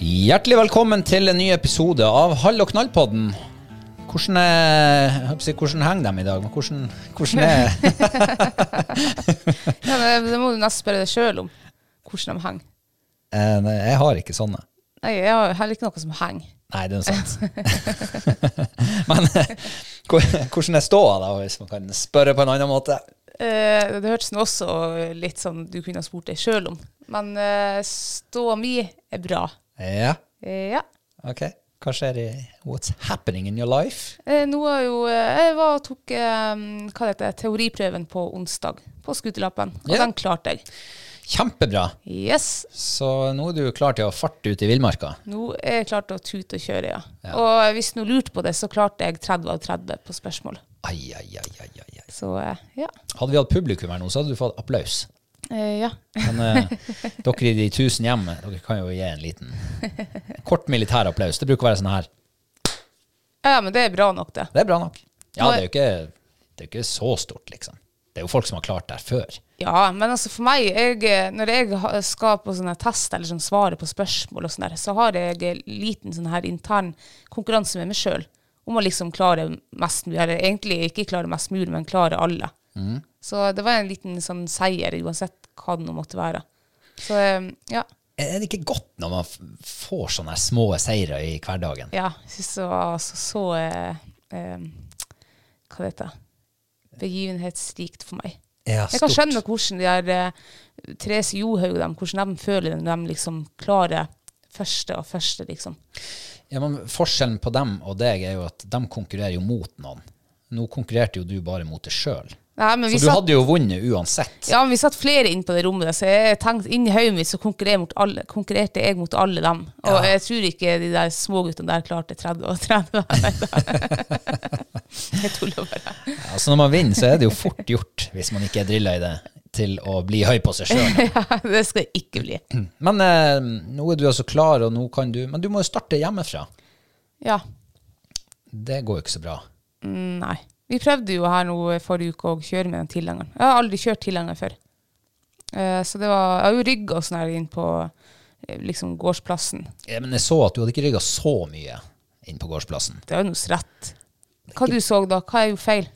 Hjertelig velkommen til en ny episode av Hall og knall-podden. Hvordan, er- jeg håper å si, hvordan henger de i dag? Men hvordan, hvordan er Ja, men det må du nesten spørre deg sjøl om hvordan de henger. Eh, nei, Jeg har ikke sånne. Nei, jeg har heller ikke noe som henger. Nei, det er noe sant. Men eh, hvor- hvordan er ståa, da, hvis man kan spørre på en annen måte? Eh, det hørtes nå også litt sånn du kunne ha spurt deg sjøl om. Men eh, ståa mi er bra. Ja, Eh, ja. OK. Hva skjer i What's happening in your life? Eh, nå har jo eh, Jeg var og tok eh, hva det heter, teoriprøven på onsdag på skuterlappen, og Ja. den klarte jeg. Kjempebra. Yes. Så nå er du klar til å farte ut i villmarka. Nå er jeg klar til å tute og kjøre, ja. Og eh, hvis noen lurte på det, så klarte jeg 30 av 30 på spørsmål. Ai, ai, ai, ai, ai, ai. Så eh, ja. Hadde vi hatt publikum her nå, så hadde du fått applaus. Eh, ja. Men eh, dere i de tusen hjemme, dere kan jo gi en liten kort militær applaus. Det bruker å være sånn her. ja, men det er bra nok, det. Det er bra nok. Ja, det er jo ikke, det er jo ikke så stort, liksom. Det er jo folk som har klart det her før. Ja, men altså for meg, jeg, når jeg ha- skal på sånne tester eller sånn svare på spørsmål og sånn der, så har jeg liten sånn her intern konkurranse med meg sjøl om å liksom klare mest mulig, eller egentlig ikke klare mest mulig, men klare alle. Så det var en liten sånn seier, uansett hva det nå måtte være. Så eh, ja, Er det ikke godt når man f- får sånne her små seire i hverdagen? ja jeg syns det var altså så eh, eh, Hva det heter det? Begivenhetsrikt for meg. Ja, Jeg kan stort. skjønne hvordan de der eh, Therese Johaug og dem, hvordan de føler det når de liksom klarer første og første, liksom. Ja, men forskjellen på dem og deg er jo at de konkurrerer jo mot noen. Nå konkurrerte jo du bare mot deg sjøl. Nei, men Så vi du satt, hadde jo vunnet uansett. ja, men vi satt flere inn på det rommet, der, så jeg tenkte inni hodet mitt så konkurrerte jeg, mot alle, konkurrerte jeg mot alle dem. Og jeg tror ikke de der småguttene der klarte 30 og 30. jeg tuller bare. Altså Når man vinner, så er det jo fort gjort, hvis man ikke er drilla i det, til å bli høy på seg sjøl. det skal jeg ikke bli. Men eh, nå er du altså klar, og nå kan du Men du må jo starte hjemmefra. Ja. Det går jo ikke så bra. Mm, Nei. Vi prøvde jo her nå forrige uke å kjøre med den tilhengeren. Jeg har aldri kjørt tilhenger før. Eh, så det var, jeg har jo rygga og sånn her inn på eh, liksom gårdsplassen. Ja, Eh, men jeg så at du hadde ikke rygga så mye inn på gårdsplassen. Det er jo noe rett. Hva du så da? Hva er jo feil?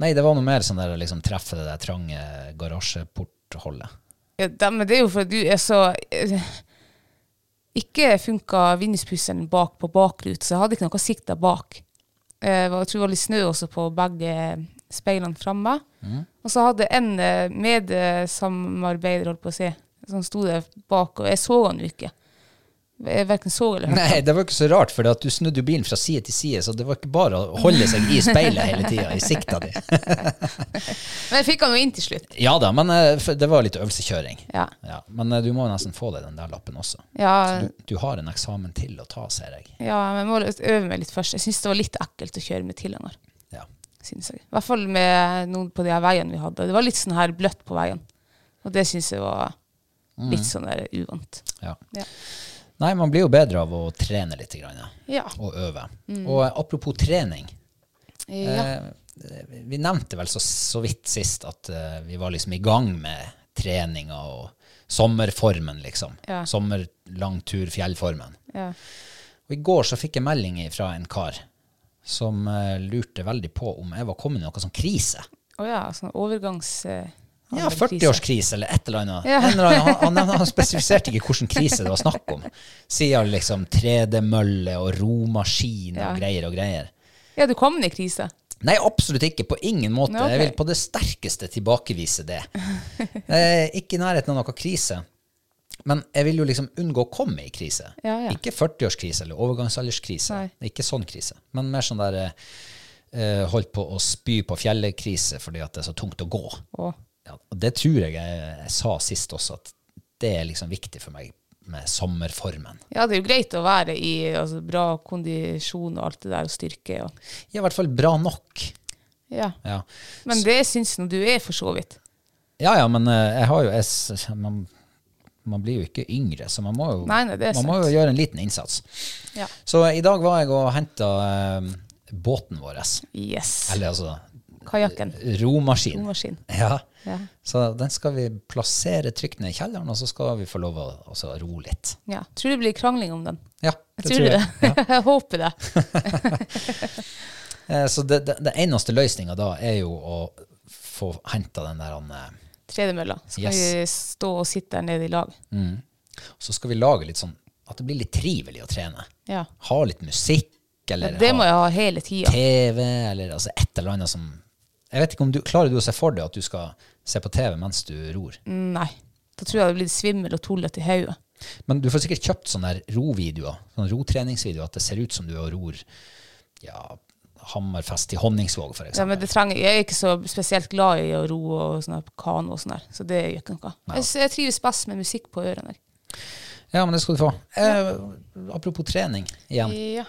Nei, det var noe mer sånn der liksom treffe det der trange garasjeportholdet. Ja, det, men det er jo fordi du er så eh, Ikke funka vinduspusseren bak på bakrute, så jeg hadde ikke noe sikta bak. Eh, det var- jeg tror det var litt snø også på begge speilene framme. Og så hadde en eh, medsamarbeider, holdt på å si, Så han sto der bak, og jeg så han jo ikke. Jeg verken så eller hørte. Nei, det var ikke så rart, for at du snudde jo bilen fra side til side, så det var ikke bare å holde seg i speilet hele tida, i sikta di. Men jeg fikk han jo inn til slutt. Ja da, men eh, for- det var litt øvelsekjøring. Ja. Ja, men eh, du må jo nesten få deg den der lappen også. Ja, Du, du har en eksamen til å ta, ser jeg. ja men jeg må øve meg litt først. Jeg syns det var litt ekkelt å kjøre med tilhenger. Ja. Synes jeg. I hvert fall med noen på de her veiene vi hadde. Det var litt sånn her bløtt på veien. Og det syns jeg var litt sånn der uvant. Ja. Ja. Nei, man blir jo bedre av å trene litt grann, ja, Ja. og øve. Mm. Og eh, apropos trening. ja. Eh, Vi nevnte vel så, så vidt sist at eh, vi var liksom i gang med treninga og sommerformen, liksom. Ja. Sommerlang tur, fjellformen. ja. Og i går så fikk jeg melding fra en kar som eh, lurte veldig på om jeg var kommet i noe sånn krise. Å ja, sånn overgangs... eh, Ja, overgangskrise. 40-årskrise eller et eller annet. Ja. En eller annen han, han, han spesifiserte ikke hvilken krise det var snakk om. Sier liksom 3D-mølle og romaskin Ja. og greier og greier. Ja, du kom i krise. Nei, absolutt ikke. På ingen måte. Nei, ok. Jeg vil på det sterkeste tilbakevise det. Eh, ikke i nærheten av noe krise. Men jeg vil jo liksom unngå å komme i krise. Ja, ja. Ikke 40-årskrise eller overgangsalderskrise. Nei. Ikke sånn krise. Men mer sånn der eh, eh, holdt på å spy på fjellet-krise fordi at det er så tungt å gå. Å. Ja, og det tror jeg, jeg jeg sa sist også, at det er liksom viktig for meg med sommerformen. Ja, det er jo greit å være i altså, bra kondisjon og alt det der, og styrke og I hvert fall bra nok. Ja. Ja. Men det syns nå du er, for så vidt. Ja, ja, men eh, jeg har jo jeg, s- man, man blir jo ikke yngre, så man må jo, Nei, nei, det er man må sant. jo gjøre en liten innsats. Ja. Så i dag var jeg og henta båten vår. Yes. Eller altså Kajakken. romaskin. Romaskin. Ja. Ja. Så den skal vi plassere trygt ned i kjelleren, og så skal vi få lov å også ro litt. Ja. Tror det blir krangling om den. Ja, Jeg tror, det. jeg håper det. Eh, Så det, det, det eneste løsninga da er jo å få henta den der han, eh, Tredemølla. Så kan Yes. vi stå og sitte der nede i lag. Så skal vi lage litt sånn at det blir litt trivelig å trene. Ja. Ha litt musikk, eller Det må ha jeg ha hele tida. TV, eller altså et eller annet som Jeg vet ikke om du klarer du å se for deg at du skal se på TV mens du ror. Nei. Da tror jeg jeg hadde blitt svimmel og tullete i hodet. Men du får sikkert kjøpt sånne her rovideoer, sånne rotreningsvideoer, at det ser ut som du er og ror ja, Hammerfest til Honningsvåg, for Ja, eksempel. men det trenger, jeg er ikke så spesielt glad i å ro og sånn her på kano og sånn der, så det gjør ikke noe. Jeg, s- jeg trives best med musikk på ørene. Ja, men det skal du få. Eh, apropos trening igjen. Ja.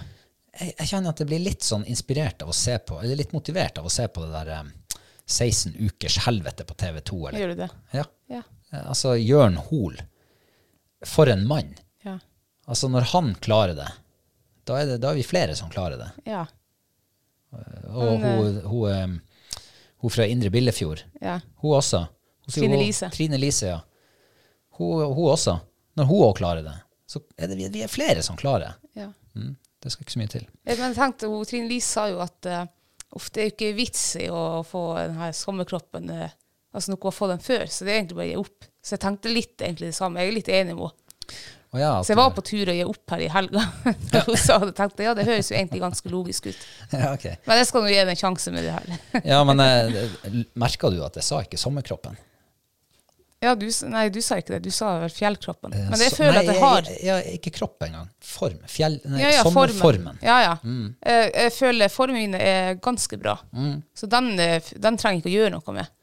jeg, jeg kjenner at jeg blir litt sånn inspirert av å se på, eller litt motivert av å se på det der eh, 16 ukers helvete på TV 2. Eller? Gjør du det? Ja. Ja. Eh, Altså, Jørn Hoel. For en mann. Ja. Altså, når han klarer det, da er, det, da er vi flere som klarer det. Ja. Mm, Og hun, hun, eh, hun fra Indre Billefjord, ja. hun også. Hun sier Trine hun- Lise. Trine Lise, ja. Hun, hun også. Når hun òg klarer det, så er det, vi- vi er flere som klarer det. ja. Mm, det skal ikke så mye til. Jeg, men jeg tenkte, hun, Trine Lise sa jo at eh, uff, det er jo ikke vits i å få den her sommerkroppen eh, Altså noe å få den før, så det er egentlig bare å gi opp. Så jeg tenkte litt egentlig det samme. Jeg er litt enig med henne. Og ja, at- Så jeg var på tur å gi opp her i helga. Da hun sa det, tenkte jeg ja, det høres jo egentlig ganske logisk ut. ja, ok. Men jeg skal nå gi det en sjanse med det her. Ja, men eh, merka du at jeg sa ikke sommerkroppen? Ja, du, s- nei, du sa ikke det. Du sa vel fjellkroppen. Eh, Men jeg så- føler nei, at jeg har jeg- jeg- ikke kropp engang. Form. Fjell, nei, ja, ja, sommerformen. Mm. Ja, ja. Jeg, jeg føler formen min er ganske bra. Så den, eh, f- den trenger jeg ikke å gjøre noe med.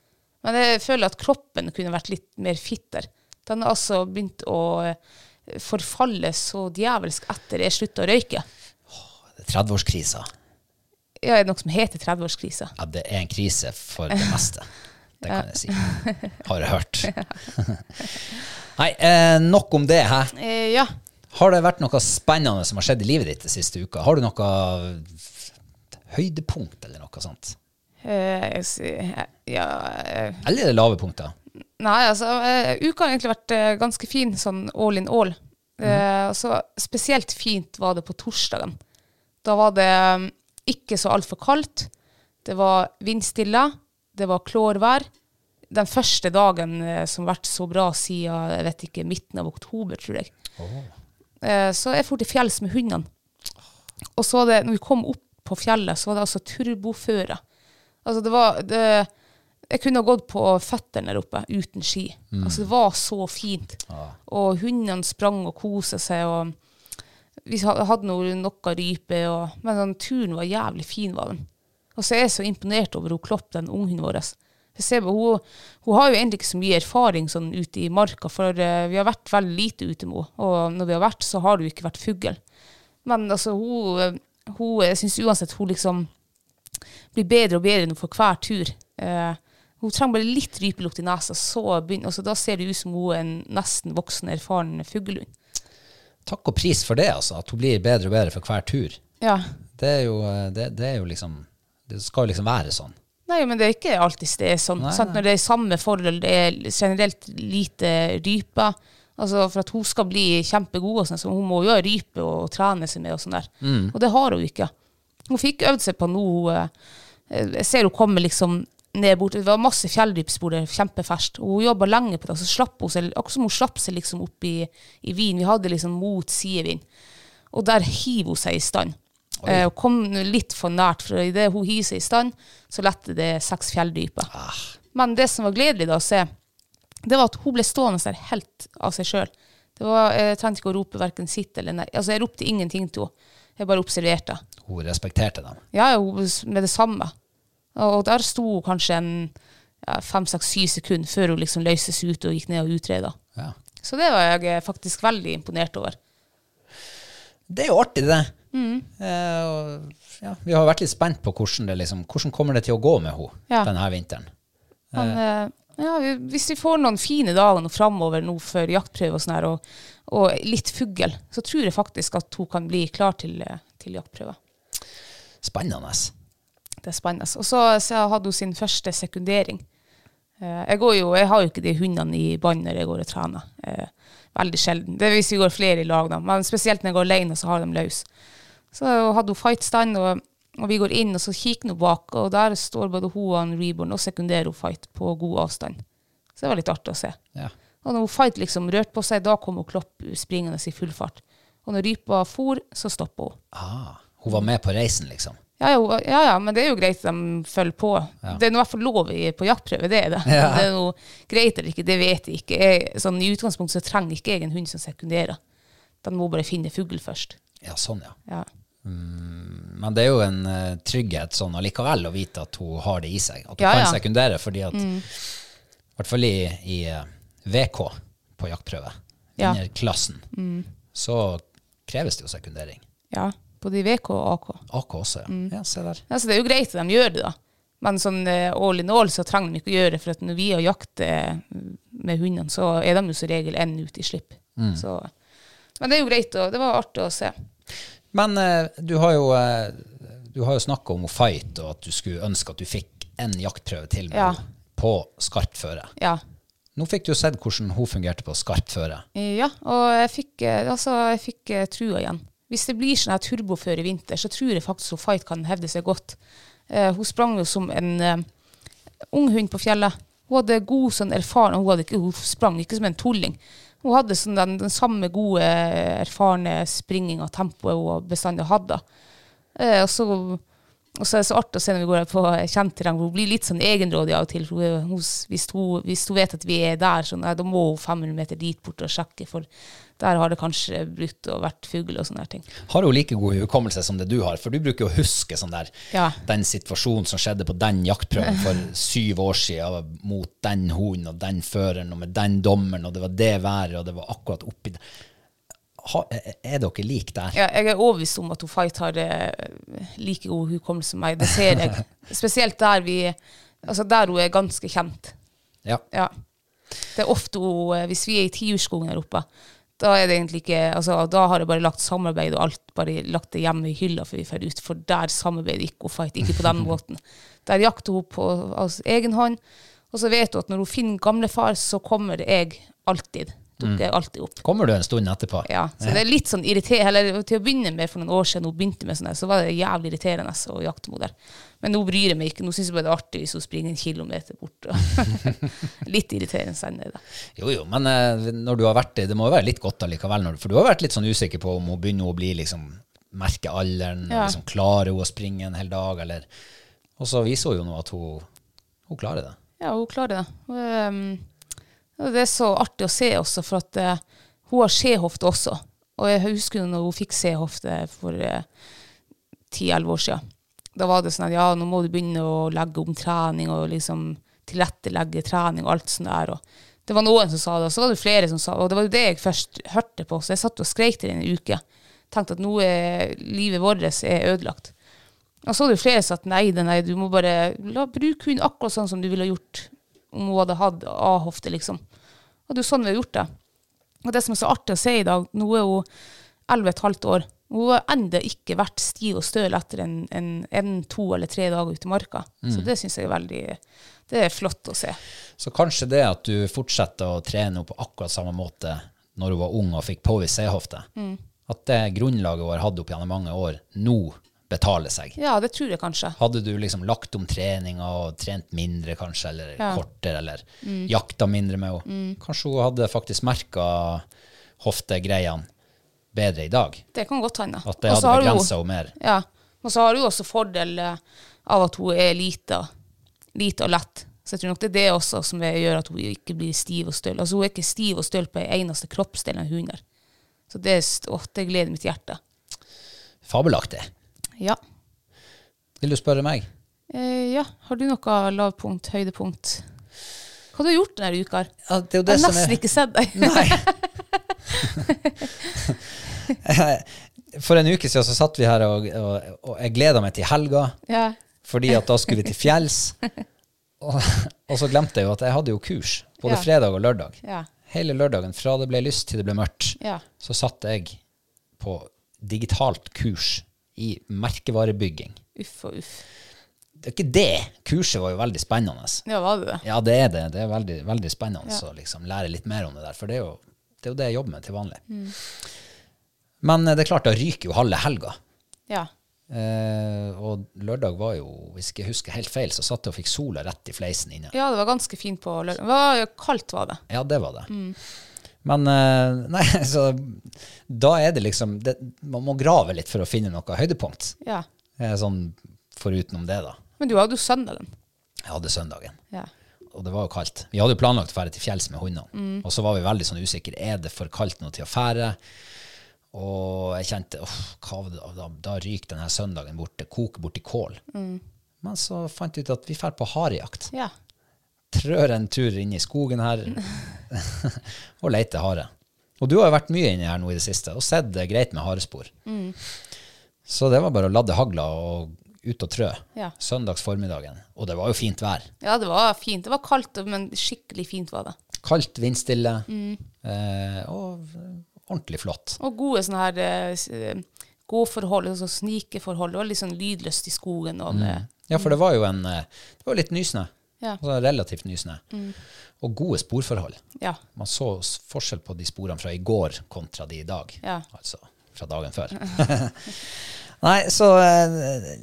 Men jeg føler at kroppen kunne vært litt mer fitter. Den har altså begynt å eh, forfalle så djevelsk etter jeg slutta å røyke. 30-årskrisa. Ja, er det noe som heter 30-årskrisa? Ja, det er en krise for det meste. Det kan jeg si. Har jeg hørt. Nei, eh, nok om det. Hæ? Eh, ja. Har det vært noe spennende som har skjedd i livet ditt de siste uka? Har du noe høydepunkt eller noe sånt? Eh, jeg s- eh, ja eh, Eller er det lave punkter? Nei, altså, eh, uka har egentlig vært eh, ganske fin, sånn all in all. Eh, altså, spesielt fint var det på torsdagen. Da var det mm, ikke så altfor kaldt. Det var vindstille. Det var klårvær. Den første dagen eh, som har vært så bra siden jeg vet ikke, midten av oktober, tror jeg. Eh, så jeg for til fjells med hundene. Og så det, når vi kom opp på fjellet, så var det altså turboføre. Altså det var det, Jeg kunne ha gått på føttene der oppe uten ski. Altså, det var så fint. Og hundene sprang og kosa seg, og vi ha- hadde noe, noe rype, og, men den turen var jævlig fin, var den. Og så er jeg så imponert over hun Klopp, den unghunden vår. altså. Jeg ser på, hun, hun har jo egentlig ikke så mye erfaring sånn ute i marka, for eh, vi har vært veldig lite ute med henne. Og når vi har vært, så har det jo ikke vært fugl. Men altså, hun, eh, hun Jeg syns uansett hun liksom blir bedre og bedre nå for hver tur. Eh, hun trenger bare litt rypelukt i nesa, så begynner, altså, da ser det ut som hun er en nesten voksen, erfaren fuglehund. Takk og pris for det, altså. At hun blir bedre og bedre for hver tur. Ja. Det er jo, eh, det, det er jo liksom Det skal jo liksom være sånn. Nei, men det er ikke alltid det er sånn. sant? Når det er samme forhold, det er generelt lite ryper. Altså For at hun skal bli kjempegod, og sånn, så hun må jo ha rype og trene seg med. Og sånn der. Og det har hun jo ikke. Hun fikk øvd seg på noe eh, Jeg ser hun kommer liksom ned bort. Det var masse fjellrypespor der, kjempeferskt. Og hun jobba lenge på det, og så slapp hun seg akkurat som hun slapp seg liksom opp i, i vinen. Vi hadde liksom mot sidevind. Og der hiver hun seg i stand. Eh, og kom nå litt for nært, for idet hun hiver seg i stand, så letter det seks fjelldyper. Men det som var gledelig da å se, det var at hun ble stående der helt av seg sjøl. eh, Jeg trengte ikke å rope verken sitt eller nei. Altså, jeg ropte ingenting til henne. Jeg bare observerte. Hun respekterte dem. Ja, ja, hun s- med det samme. Og der sto hun kanskje en ja, fem, seks, syv sekunder før hun liksom løses ut og gikk ned og utreda. Ja. Så det var jeg eh, faktisk veldig imponert over. Det er jo artig, det. Mm. Eh, og, ja, vi har vært litt spent på hvordan det liksom, hvordan kommer det til å gå med henne Ja. denne vinteren. Men eh, ja, vi- hvis vi får noen fine dager nå framover nå før jaktprøve og sånn her, og, og litt fugl, så tror jeg faktisk at hun kan bli klar til, eh, til jaktprøve. Spennende. Det er spennende. Og så, så hadde hun sin første sekundering. Eh, jeg, går jo, jeg har jo ikke de hundene i bånd når jeg går og trener. Eh, veldig sjelden. Det er hvis vi går flere i lag, da. Men spesielt når jeg går alene, så har de løs. Så hadde hun fightstand, og, og vi går inn, og så kikker hun bak, og der står både hun og han Reborn og sekunderer hun fight på god avstand. Så det var litt artig å se. Ja. Og når hun fight liksom rørte på seg, da kom hun Klopp springende i full fart. Og når rypa for, så stoppa hun. Ah, hun var med på reisen, liksom. Ja, jo, ja, ja, men det er jo greit at de følger på. Det er nå i hvert fall lov i, på jaktprøve, det er det. Det er noe greit eller ikke, det vet jeg ikke. Jeg, sånn, I utgangspunktet så trenger ikke jeg en hund som sekunderer. Den må bare finne fugl først. Ja, sånn, ja. Ja. Men det er jo en eh, trygghet sånn allikevel å vite at hun har det i seg. At hun Ja, kan ja. Mm. sekundere, fordi at I hvert fall i, i eh, VK på jaktprøve, Ja. Mm. under klassen, så kreves det jo sekundering. ja. Både i VK og AK. AK også, ja. Mm. Ja, se der. Ja, så det er jo greit at de gjør det, da. Men sånn eh, all in all så trenger de ikke å gjøre det, for at når vi har jakt eh, med hundene, så er de jo som regel én ute i slipp. Så, men det er jo greit, og det var artig å se. Men eh, du har jo, eh, du har jo snakka om å fight, og at du skulle ønske at du fikk en jaktprøve til med Ja. henne på skarpt føre. Ja. Nå fikk du jo sett hvordan hun fungerte på skarpt føre. Eh, Ja, og jeg fikk, eh, altså, jeg fikk eh, trua igjen. Hvis det blir sånn her turbofør i vinter, så tror jeg faktisk hun Fight kan hevde seg godt. Eh, hun sprang jo som en eh, ung hund på fjellet. Hun hadde god sånn erfaren, hun, hadde ikke, hun sprang ikke som en tulling. Hun hadde sånn den, den samme gode, eh, erfarne springinga og tempoet hun bestandig hadde. Eh, og, så, og så er det så artig å se når vi går her på kjent terreng, hvor hun blir litt sånn egenrådig av og til. For hun, hun, hvis, hun, hvis hun vet at vi er der, sånn, nei, da må hun 500 meter dit bort og sjekke, for der har det kanskje brutt og vært fugl og sånne her ting. Har hun like god hukommelse som det du har? For du bruker jo å huske sånn der, Ja. den situasjonen som skjedde på den jaktprøven for syv år siden, mot den hunden og den føreren og med den dommeren, og det var det været, og det var akkurat oppi der. Ha, er dere like der? Ja, jeg er overbevist om at hun Fight har eh, like god hukommelse som meg, det ser jeg. Spesielt der, vi, altså der hun er ganske kjent. Ja. Ja. Det er ofte hun eh, Hvis vi er i tiurskogen her oppe, da er det egentlig ikke altså, Da har jeg bare lagt samarbeid og alt, bare lagt det hjemme i hylla før vi drar ut, for der samarbeider ikke hun fight, ikke på den måten. Der jakter hun på altså, egen hånd, og så vet hun at når hun finner gamlefar, så kommer jeg alltid. Dukker alltid opp. Kommer du en stund etterpå? Ja, så det er litt sånn irriterende, eller til å begynne med for noen år siden, hun begynte med sånn her, så var det jævlig irriterende altså, å jakte mot der. Men nå bryr jeg meg ikke, nå synes jeg bare det er artig hvis hun springer en kilometer bort. og- litt irriterende enn det da. Jo, jo, men eh, når du har vært det, det må jo være litt godt allikevel, når, du- for du har vært litt sånn usikker på om hun begynner å bli liksom, merke alderen, og Ja. liksom klarer hun å springe en hel dag, eller Og så viser hun jo nå at hun, hun klarer det. Ja, hun klarer det. Og, ehm, og det er så artig å se også, for at eh, hun har skjehofte også. Og jeg husker jo når hun fikk skjehofte for eh, ti-elleve år siden. Da var det sånn at ja, nå må du begynne å legge om trening og liksom tilrettelegge trening og alt sånt der. Og det var noen som sa det, og så var det flere som sa det. Og det var jo det jeg først hørte på, så jeg satt og skreik til det i en uke. Tenkte at nå er livet vårt er ødelagt. Og så er det jo flere som sa at nei, det- nei, du må bare la, bruke hunden akkurat sånn som du ville ha gjort om hun hadde hatt A-hofte, liksom. Og det er jo sånn vi har gjort det. Og det som er så artig å se i dag, nå er hun 11,5 år. Hun har ennå ikke vært stiv og støl etter en, en, en to eller tre dager ute i marka. Så det syns jeg er veldig Det er flott å se. Så kanskje det at du fortsetter å trene henne på akkurat samme måte når hun var ung og fikk påvist sehofte, at det grunnlaget hun har hatt opp gjennom mange år, nå betaler seg. Ja, det tror jeg kanskje. Hadde du liksom lagt om treninga og trent mindre kanskje, eller kortere, eller Mm. jakta mindre med henne, kanskje hun hadde faktisk merka hoftegreiene bedre i dag? Det kan godt hende. At det Og så hadde har hun- begrensa henne mer? Ja. Og så har du jo også fordel eh, av at hun er lita, lita og lett. Så jeg tror nok det er det også som gjør at hun ikke blir stiv og støl. Altså Hun er ikke stiv og støl på en eneste kroppsdel av hunder. Så det, er st- åh, det gleder mitt hjerte. Fabelaktig. Ja. Vil du spørre meg? Eh, ja. Har du noe lavpunkt, høydepunkt? Hva har du gjort denne uka? her? Ja, det er jo Jeg har nesten ikke sett deg. Nei. For en uke siden så satt vi her, og, og, og jeg gleda meg til helga, ja. fordi at da skulle vi til fjells. Og, og så glemte jeg jo at jeg hadde jo kurs både Ja. fredag og lørdag. Ja. Hele lørdagen, fra det ble lyst til det ble mørkt, Ja. så satt jeg på digitalt kurs i merkevarebygging. Uff og uff. Det er ikke det. Kurset var jo veldig spennende. Ja, var det det? Ja, det er det. Det er veldig, veldig spennende å liksom lære litt mer om det der. For det er jo det, er jo det jeg jobber med til vanlig. Men eh, det er klart, da ryker jo halve helga. Ja. Eh, og lørdag var jo, hvis jeg ikke husker helt feil, så satt jeg og fikk sola rett i fleisen inne. ja, det var ganske fint på lørdag. Det var jo kaldt, var det. Ja, det var det. Men eh, Nei, så da er det liksom det, Man må grave litt for å finne noe høydepunkt. Ja. Eh, sånn forutenom det, da. Men du hadde jo søndagen. Jeg hadde søndagen. Ja. og det var jo kaldt. Vi hadde jo planlagt å fære til fjells med hundene, og så var vi veldig sånn usikre. Er det for kaldt nå til å fære? Og jeg kjente uff, hva var det, da, da ryker denne søndagen bort. Det koker bort i kål. Men så fant vi ut at vi drar på harejakt. Ja. Trør en tur inn i skogen her og leter hare. Og du har jo vært mye inni her nå i det siste og sett det er greit med harespor. Mm. Så det var bare å ladde hagla og ut og trø Ja. søndags formiddagen. Og det var jo fint vær. ja, det var fint. Det var kaldt, men skikkelig fint var det. Kaldt, vindstille Mm. eh, og ordentlig flott. Og gode sånne her eh, s- eh, gåforhold, altså snikeforhold. Det var litt sånn lydløst i skogen. Og med, Ja, for det var jo en eh, Det var litt nysnø. Ja. Mm. Altså relativt nysnø. Og gode sporforhold. ja, Man så s- forskjell på de sporene fra i går kontra de i dag. Ja. Altså fra dagen før. Nei, så eh,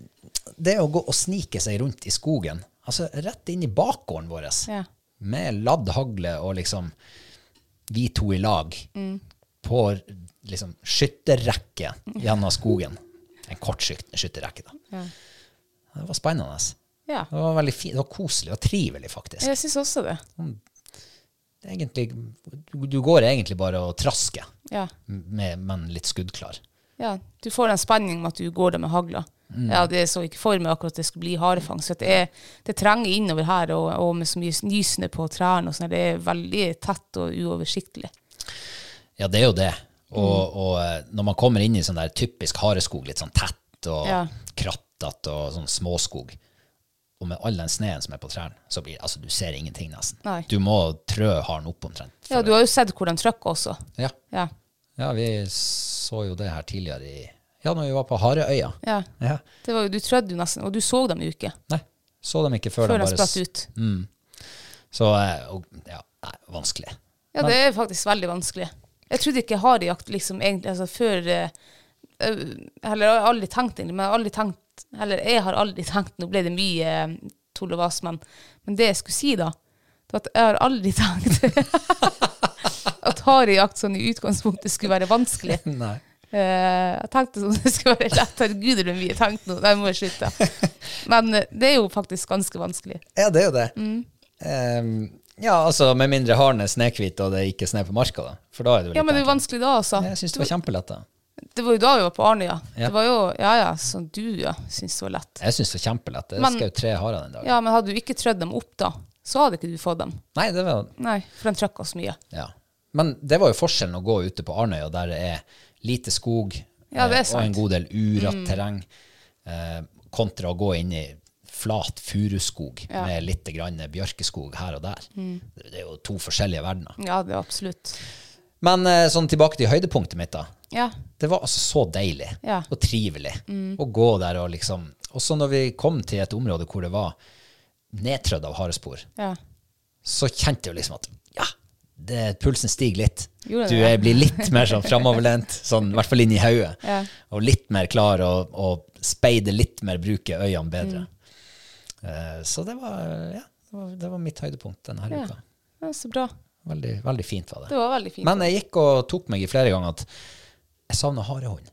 Det å gå og snike seg rundt i skogen, altså rett inn i bakgården vår, Ja. med ladd hagle og liksom vi to i lag, Mm. på liksom skytterrekke gjennom skogen. En kort skyt- skytterrekke, da. ja. Det var spennende. ja. Det var veldig fint. Det var koselig og trivelig, faktisk. Jeg syns også det. Det er Egentlig, du, du går egentlig bare og trasker, Ja. med, men litt skuddklar. ja. Du får den spenningen med at du går der med hagla. Ja, det så ikke for meg akkurat det skulle bli harefang. Så at det, er, det trenger innover her, og, og med så mye nysnø på trærne og sånn, det er veldig tett og uoversiktlig. Ja, det er jo det. Og, Mm. og eh, når man kommer inn i sånn der typisk hareskog, litt sånn tett og Ja. krattete og sånn småskog, og med all den sneen som er på trærne, så blir altså, du ser ingenting nesten. Nei. Du må trø haren opp omtrent. Ja, du har jo sett hvor den trykker også. Ja. Ja. ja, vi så jo det her tidligere i Ja, når vi var på Hareøya. ja. Ja. Det var, jo- du trødde jo nesten, og du så dem jo ikke Nei, så dem ikke før, de før de bare Mm. spratt ut. Så eh, og, ja, nei, vanskelig. Ja, det er faktisk veldig vanskelig. Jeg trodde ikke harejakt liksom egentlig altså, før eh, eh, Eller jeg har aldri tenkt egentlig, men jeg har aldri tenkt Eller jeg har aldri tenkt Nå ble det mye eh, tull og vas, men, men det jeg skulle si da, det var at jeg har aldri tenkt at harejakt sånn i utgangspunktet skulle være vanskelig. Nei. Eh, jeg tenkte sånn det skulle være lettere. Gud, det ble mye tenkt nå. Nei, må jeg slutte. Men eh, det er jo faktisk ganske vanskelig. Ja, det er jo det. Ehm, ja, altså med mindre haren er snøhvit og det ikke er snø på marka, da. For da er det jo litt Ja, men det er jo enkelt. vanskelig da, altså. Jeg syns det var kjempelett, da. Det var jo da vi var på Arnøya. Ja. Det var jo Ja ja, som du, ja, syns det var lett. Jeg syns det var kjempelett. Det Men- skal jo tre harer den dagen. Ja, men hadde du ikke trødd dem opp da, så hadde ikke du fått dem. Nei, det var Nei, for den trøkka så mye. Ja. Men det var jo forskjellen å gå ute på Arnøya, der det er lite skog Ja, det eh, og er en sant. Mm. god del urat terreng, eh, kontra å gå inn i flat furuskog med litt grann bjørkeskog her og der. Mm. Det, det er jo to forskjellige verdener. Ja, det er absolutt. Men eh, sånn tilbake til høydepunktet mitt, da. Ja. Det var altså så deilig Ja. Mm. og trivelig å gå der og liksom Også når vi kom til et område hvor det var nedtrødd av harespor, ja. så kjente jeg jo liksom at ja, det, pulsen stiger litt. Gjorde det Du det? er, blir litt mer sånn framoverlent, sånn, i hvert fall inn i hodet. Ja. Og litt mer klar og, og speide litt mer, bruke øynene bedre. Eh, så det var, ja, det var, det var mitt høydepunkt denne her Mm. Ja. uka. ja. Så bra. Veldig, veldig fint var det. Det var veldig fint. Men jeg gikk og tok meg i flere ganger at jeg savna harehund.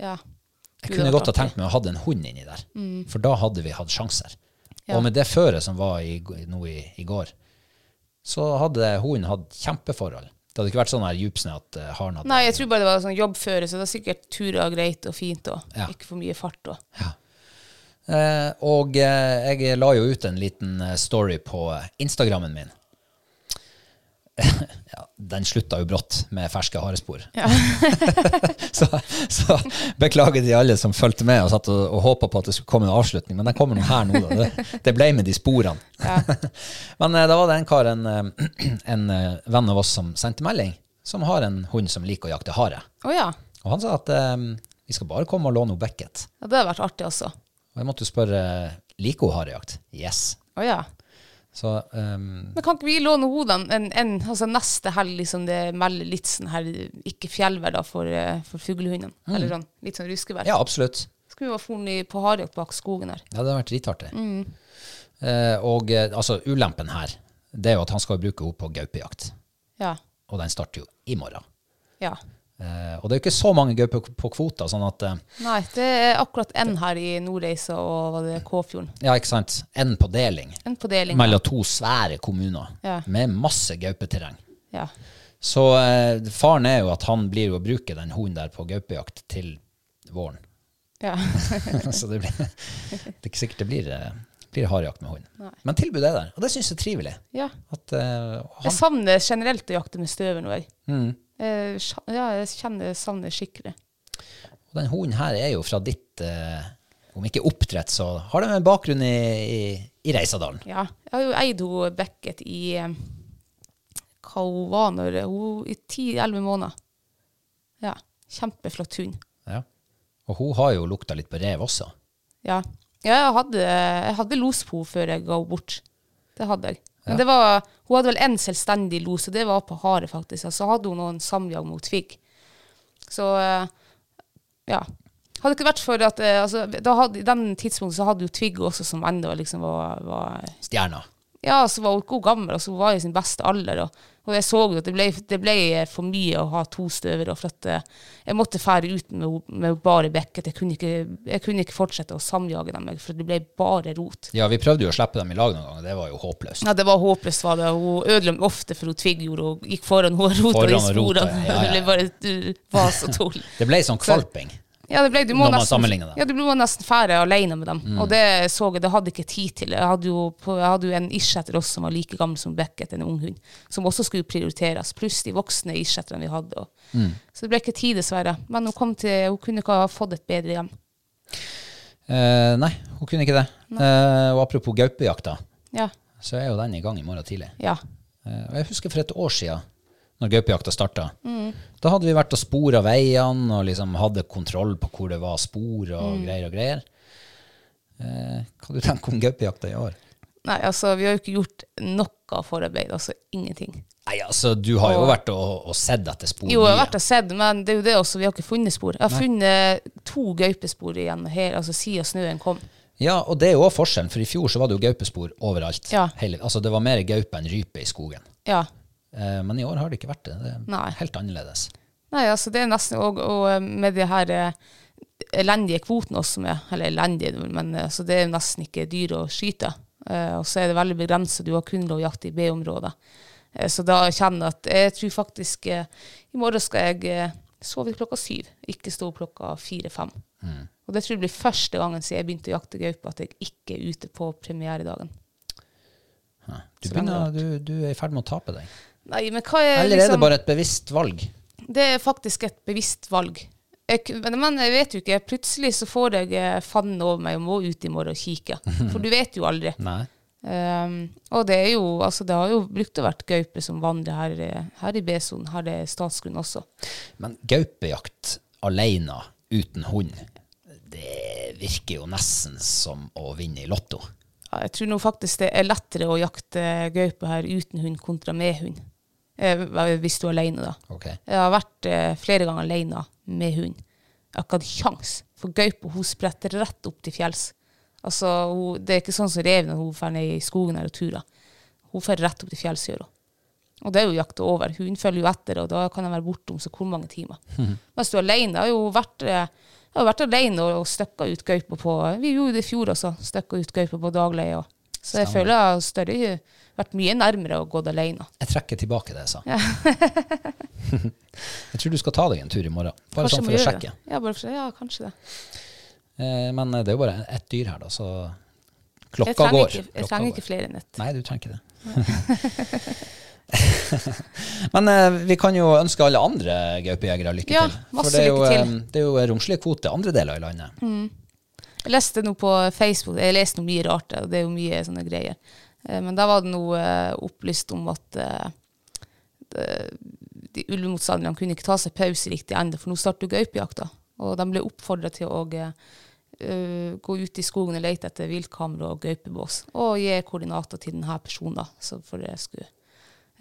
ja. Jeg Gud, kunne det var godt ha artig. tenkt meg å ha en hund inni der, for da hadde vi hatt sjanser. Mm. Ja. Og med det føret som var i, g- nå i, i går, så hadde hunden hatt kjempeforhold. Det hadde ikke vært sånn her djupsnø at eh, haren hadde Nei, jeg tror bare det var sånn jobbføre, så det var sikkert turer greit og fint og Ja. ikke for mye fart og Eh, og eh, jeg la jo ut en liten eh, story på eh, Instagrammen min. ja, den slutta jo brått med ferske harespor. så, så beklager til alle som fulgte med og satt og, og håpa på at det skulle komme en avslutning, men den kommer nå her nå. Da. Det, det ble med de sporene. men eh, da var det en kar, en, eh, en eh, venn av oss, som sendte melding, som har en hund som liker å jakte hare. Å ja. Og han sa at eh, vi skal bare komme og låne henne Beckett. ja. Det har vært artig også. Og jeg måtte jo spørre liker hun harejakt. Yes. Å ja. Så ehm, Men kan ikke vi låne hodene en, en, altså neste helg, liksom det melder litt sånn her ikke fjellvær da for, eh, for fuglehundene? Eller sånn litt sånn ruskevær? Mm. ja, absolutt. Skal vi være fornøyd på harejakt bak skogen her? Ja, det hadde vært dritartig. Eh, og eh, altså, ulempen her, det er jo at han skal bruke henne på gaupejakt. Ja. Og den starter jo i morgen. Ja. Eh, og det er jo ikke så mange gauper på kvota, sånn at eh, Nei, det er akkurat én her i Nordreisa og var det Kåfjorden. Ja, ikke sant. En på deling En på deling. mellom to svære kommuner Ja. med masse gaupeterreng. Ja. Så eh, faren er jo at han blir jo å bruke den hunden der på gaupejakt til våren. ja. så det, blir, det er ikke sikkert det blir, eh, blir harejakt med hund. Men tilbudet er der, og det syns jeg er trivelig. ja. At, eh, og Jeg han, Mm. savner generelt å jakte med støver nå, jeg. Eh, sja- ja, jeg kjenner jeg savner skikkelig. og den hunden her er jo fra ditt eh, Om ikke oppdrett, så har de en bakgrunn i, i, i Reisadalen. Ja. Jeg har jo eid ho Beckett i eh, hva hun var når hun I ti-elleve måneder. Ja. Kjempeflott hund. Ja. Og hun har jo lukta litt på rev også. Ja. ja jeg, hadde, jeg hadde los på henne før jeg ga henne bort. Det hadde jeg. Men det var, hun hadde vel én selvstendig los, og det var på hare, faktisk. Og så hadde hun noen samjag mot figg. Så eh, ja. Hadde det ikke vært for at eh, altså, da hadde, I den tidspunktet så hadde jo Twigg også, som ennå liksom var, var Stjerna. Ja, så var hun god gammel, altså hun var i sin beste alder. Og, og jeg så jo at det ble, det ble for mye å ha to støver, og for at eh, jeg måtte fære ut med, ho- med bare bekket. Jeg kunne, ikke, jeg kunne ikke fortsette å samjage dem, for det ble bare rot. Ja, vi prøvde jo å slippe dem i lag noen ganger, det var jo håpløst. Ja, det var håpløst, var det. Hun ødela meg ofte, for hun Tvigg gjorde og gikk foran og rota Foran i og rota, sporene. ja, ja. Det ble bare du, vas og tull. Det ble sånn kvalping. Ja, det ble, du må Når man nesten, sammenligner det. Mm. Ja, du må nesten fære alene med dem. Og det så jeg, det hadde jeg ikke tid til. Jeg hadde jo, på, jeg hadde jo en isjetter også som var like gammel som Beckett, en ung hund, som også skulle prioriteres, pluss de voksne isjetterne vi hadde. Og. Mm. Så det ble ikke tid, dessverre. Men hun, kom til, hun kunne ikke ha fått et bedre hjem. Eh, nei, hun kunne ikke det. Eh, og apropos gaupejakta, Ja. så er jo den i gang i morgen tidlig. ja. Eh, Og jeg husker for et år siden, når gaupejakta starta, Mm. da hadde vi vært og spora veiene og liksom hadde kontroll på hvor det var spor og Mm. greier og greier. Eh, hva du tenker om gaupejakta i år? Nei, altså, vi har jo ikke gjort noe forarbeid. Altså ingenting. Nei, altså, Du har jo vært og, og sett etter spor. Jo, jeg har mye. vært og sett, men det er jo det også, vi har ikke funnet spor. Jeg har funnet to gaupespor igjen her, altså siden snøen kom. Ja, og det er jo også forskjellen, for i fjor så var det jo gaupespor overalt. Ja. Hele, altså, Det var mer gaupe enn rype i skogen. Ja. Eh, men i år har det ikke vært det. Det er Nei. helt annerledes. Nei, altså det er nesten og, og med de her eh, elendige kvotene også med, eller elendige, men eh, altså det er nesten ikke dyr å skyte. Eh, og så er det veldig begrenset. Du har kun lov å jakte i B-områder. Eh, så da kjenner jeg at jeg tror faktisk eh, i morgen skal jeg eh, sove til klokka syv, ikke stå opp klokka fire-fem. Mm. Og det tror jeg blir første gangen siden jeg begynte å jakte gaupe, at jeg ikke er ute på premieredagen. Du, Så lenge begynner, du, du er i ferd med å tape deg. Nei, men hva er Eller er det liksom bare et bevisst valg? Det er faktisk et bevisst valg. Jeg, k- men- men jeg vet jo ikke. Plutselig så får jeg eh, fanden over meg og må ut i morgen og kikke. For du vet jo aldri. Nei. Ehm, og det er jo, altså det har jo brukt å vært gaupe som vandrer her, eh, her i B-sonen. Her er statsgrunn også. Men gaupejakt alene uten hund, det virker jo nesten som å vinne i Lotto. Ja, jeg tror nå faktisk det er lettere å jakte gaupe her uten hund kontra med hund. Eh, hva- hvis du er alene, da. Ok. Jeg har vært eh, flere ganger alene med hund. Jeg har ikke hatt kjangs, for gaupa hun spretter rett opp til fjells. Altså, hun, det er ikke sånn som reven når hun drar ned i skogen eller turer. Hun drar rett opp til fjells, gjør hun. Og det er jo jakta over. Hun følger jo etter, og da kan jeg være borte om så hvor mange timer. Mens du er alene, har jo vært, eh, jeg har vært alene og, og støkka ut gaupa på Vi gjorde det i fjor også, støkka ut gaupa på dagleie. og- Så jeg føler jeg har større, vært mye nærmere og gått alene. Jeg trekker tilbake det jeg sa. jeg tror du skal ta deg en tur i morgen, bare Kanskje sånn må for å gjøre sjekke. Det. Ja, bare for, ja, kanskje det. Eh, Men det er jo bare ett dyr her, da, så Jeg klokka trenger, går. ikke, jeg Klokka trenger går. ikke flere enn ett. Nei, du trenger ikke det. Men eh, vi kan jo ønske alle andre gaupejegere lykke Ja, til. masse det er, jo, lykke til. Mm. eh, det er jo romslige kvoter andre deler i landet. Jeg leste noe på Facebook, jeg leste noe mye rart, og det er jo mye sånne greier. Eh, Men da var det noe eh, opplyst om at eh, det- de ulvemotstanderne kunne ikke ta seg pause riktig ennå, for nå starter jo gaupejakta. Og de ble oppfordra til å eh, eh, gå ut i skogen og lete etter viltkamera og gaupebås, og gi koordinater til denne personen, da. Så for det skulle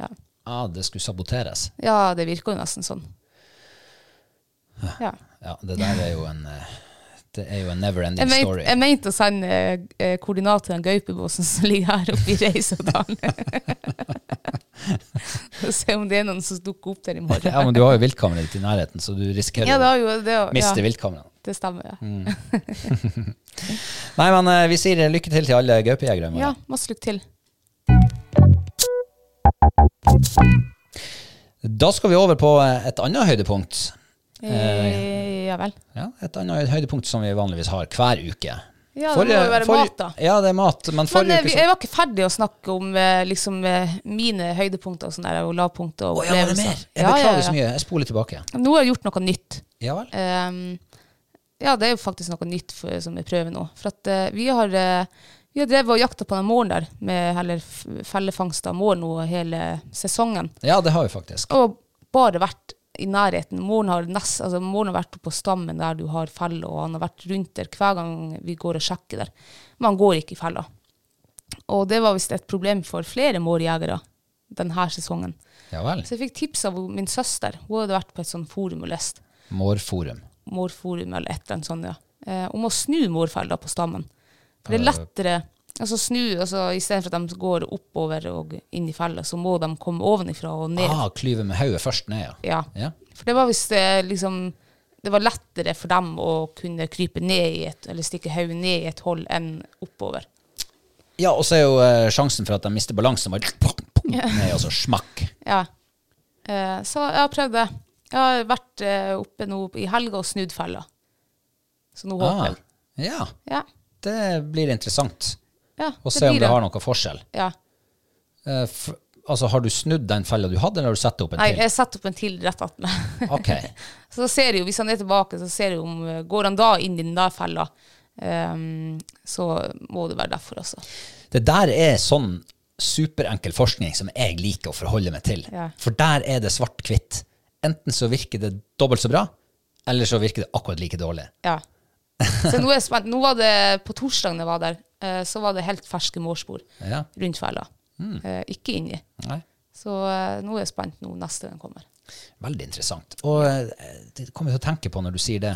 ja. Ja, det skulle saboteres. ja, det virker jo nesten sånn. Ja. Ja, det der er jo en eh, Det er jo en never ending Jeg, mente- story. jeg mente å sende eh, koordinater til den gaupebåsen som ligger her oppe i Reisadalen. Og se om det er noen som dukker opp der i morgen. ja, men du har jo viltkameraet ditt i nærheten, så du risikerer Ja, det å har jo det. har- miste Ja, viltkameraet. det stemmer. Ja. Mm, Nei, men eh, vi sier lykke til til alle gaupejegere. i morgen. ja, masse lykke til. Da skal vi over på eh, et annet høydepunkt. Eh, ja vel. Ja, et annet høydepunkt som vi vanligvis har hver uke. Ja, det må jo være forrige- mat, da. Ja, det er mat. Men Men forrige eh, vi- uke jeg var ikke ferdig å snakke om eh, liksom, eh, mine høydepunkter og sånne der, og lavpunkter. Og Å, ja, var det opplevelser. mer? Jeg Ja, ja, beklager ja. så mye. Jeg spoler tilbake. Nå har jeg gjort noe nytt. Ja vel? Ehm, ja, det er jo faktisk noe nytt for, som jeg prøver nå. For at eh, vi har eh, vi har drevet og jakta på den måren der, med heller f- fellefangst av mår nå hele sesongen. Ja, det har vi faktisk. Og bare vært i nærheten. Måren har, nest, altså, måren har vært oppe på stammen der du har felle, og han har vært rundt der hver gang vi går og sjekker der. Men han går ikke i fella. Og det var visst et problem for flere mårjegere denne sesongen. Ja vel. Så jeg fikk tips av min søster. Hun hadde vært på et sånt forum og lest Mårforum. morforum eller et eller annet sånt, ja. eh, om å snu morfeller på stammen. For det er lettere altså snu, altså Istedenfor at de går oppover og inn i fella, så må de komme ovenifra og ned. Ah, klyve med hodet først ned, ja. Ja. Ja. For det var hvis det liksom det var lettere for dem å kunne krype ned i et, eller stikke hodet ned i et hold enn oppover. Ja, og så er jo eh, sjansen for at de mister balansen, bare ned, og så smakk. Ja. Eh, så jeg har prøvd det. Jeg har vært eh, oppe nå i helga og snudd fella. Så nå håper Ah, jeg. ja, Ja. det blir interessant ja å se om blir det har noe forskjell. Ja. Eh, f- altså, har du snudd den fella du hadde, eller har du satt opp en Nei, til? jeg setter opp en til rett attmed. Ok. Så da ser jeg jo, hvis han er tilbake, så ser jeg om eh, Går han da inn i den der fella, ehm, så må det være derfor, altså. Det der er sånn superenkel forskning som jeg liker å forholde meg til. Ja. For der er det svart-hvitt. Enten så virker det dobbelt så bra, eller så virker det akkurat like dårlig. Ja. Så nå er jeg spent. Nå var det på torsdagen jeg var der, eh, så var det helt ferske mårspor Ja. Mm. rundt fella. Eh, ikke inni. Nei. Så eh, nå er jeg spent nå neste den kommer. Veldig interessant. Og eh, det kommer jeg til å tenke på når du sier det.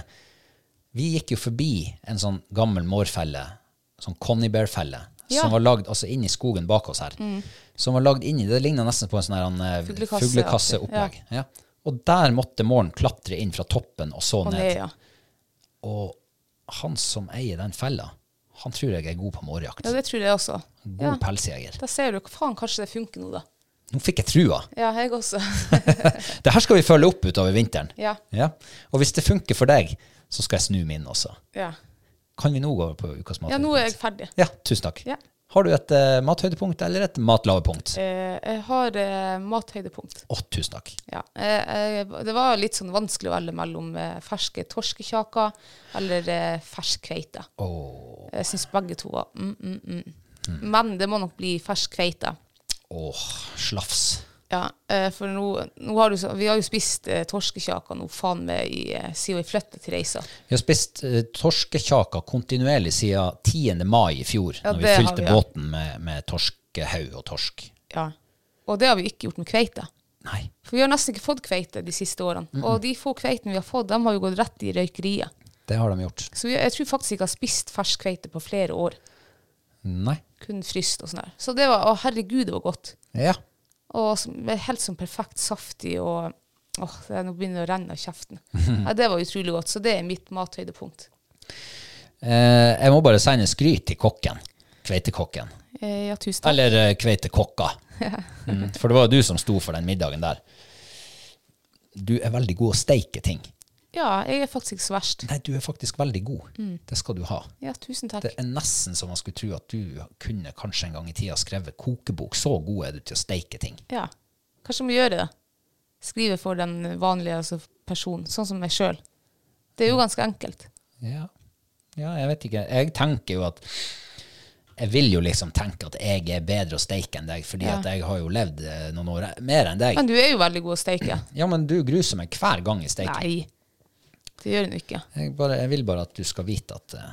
Vi gikk jo forbi en sånn gammel mårfelle, sånn Connie Bear-felle, Ja. Mm. som var lagd altså inn i skogen bak oss her. Som var lagd inni, det ligna nesten på en sånn her, eh, Fuglekasse- fuglekasseopplegg. Ja. Og der måtte måren klatre inn fra toppen og så Og ned. det, ja. Og han som eier den fella, Han tror jeg er god på mårjakt. Ja, det tror jeg også. God Ja, pelsjeger. da ser du. Faen, kanskje det funker nå, da. Nå fikk jeg trua. Ja, jeg også. Det her skal vi følge opp utover vinteren. Ja. Og hvis det funker for deg, så skal jeg snu min også. Ja, Kan vi nå gå over på ukas mathøydepunkt? ja nå er jeg ferdig. Ja, tusen takk. Ja. Har du et eh, mathøydepunkt eller et matlavepunkt? Å, Eh, jeg har eh, mathøydepunkt. tusen takk. Ja. Eh, eh, det var litt sånn vanskelig å velge mellom eh, ferske torskekjaker eller eh, fersk kveite. Jeg syns begge to var mm, mm, mm. Men det må nok bli fersk kveite. Åh, slafs. Ja, eh, for nå, nå har du, så- vi har jo spist eh, torskekjaker nå faen meg i, eh, siden vi flytta til Reisa. Vi har spist eh, torskekjaker kontinuerlig siden 10. mai i fjor, Ja, når vi det har fylte vi, ja. båten med, med torskehaug og torsk. Ja. Og det har vi ikke gjort med kveite. Nei. For vi har nesten ikke fått kveite de siste årene. Og de få kveitene vi har fått, de har jo gått rett i røykeriet. Det har de gjort. Så vi- jeg tror faktisk ikke jeg har spist fersk kveite på flere år. Nei. Kun fryst og sånn der. Så det var Å, herregud, det var godt. Ja. Og som- helt sånn perfekt saftig og Åh, det er- nå begynner det å renne av kjeften. Ja, det var utrolig godt. Så det er mitt mathøydepunkt. Eh, jeg må bare sende skryt til kokken. Kveitekokken. Eh, ja, tusen takk. Eller eh, kveitekokka. Mm, for det var jo du som sto for den middagen der. Du er veldig god å steike ting. Ja, jeg er faktisk ikke så verst. Nei, du er faktisk veldig god. Det skal du ha. Ja, tusen takk. Det er nesten så man skulle tro at du kunne kanskje en gang i tida skrevet kokebok. Så god er du til å steike ting. Ja. Kanskje vi gjør det. Skrive for den vanlige altså, personen, sånn som meg sjøl. Det er jo ganske enkelt. Ja. ja, jeg vet ikke. Jeg tenker jo at Jeg vil jo liksom tenke at jeg er bedre å steike enn deg, fordi Ja. at jeg har jo levd eh, noen år mer enn deg. Men du er jo veldig god å steike. Ja, men du gruser meg hver gang i steiking. Nei, det gjør hun ikke. Jeg, bare, jeg vil bare at du skal vite at eh,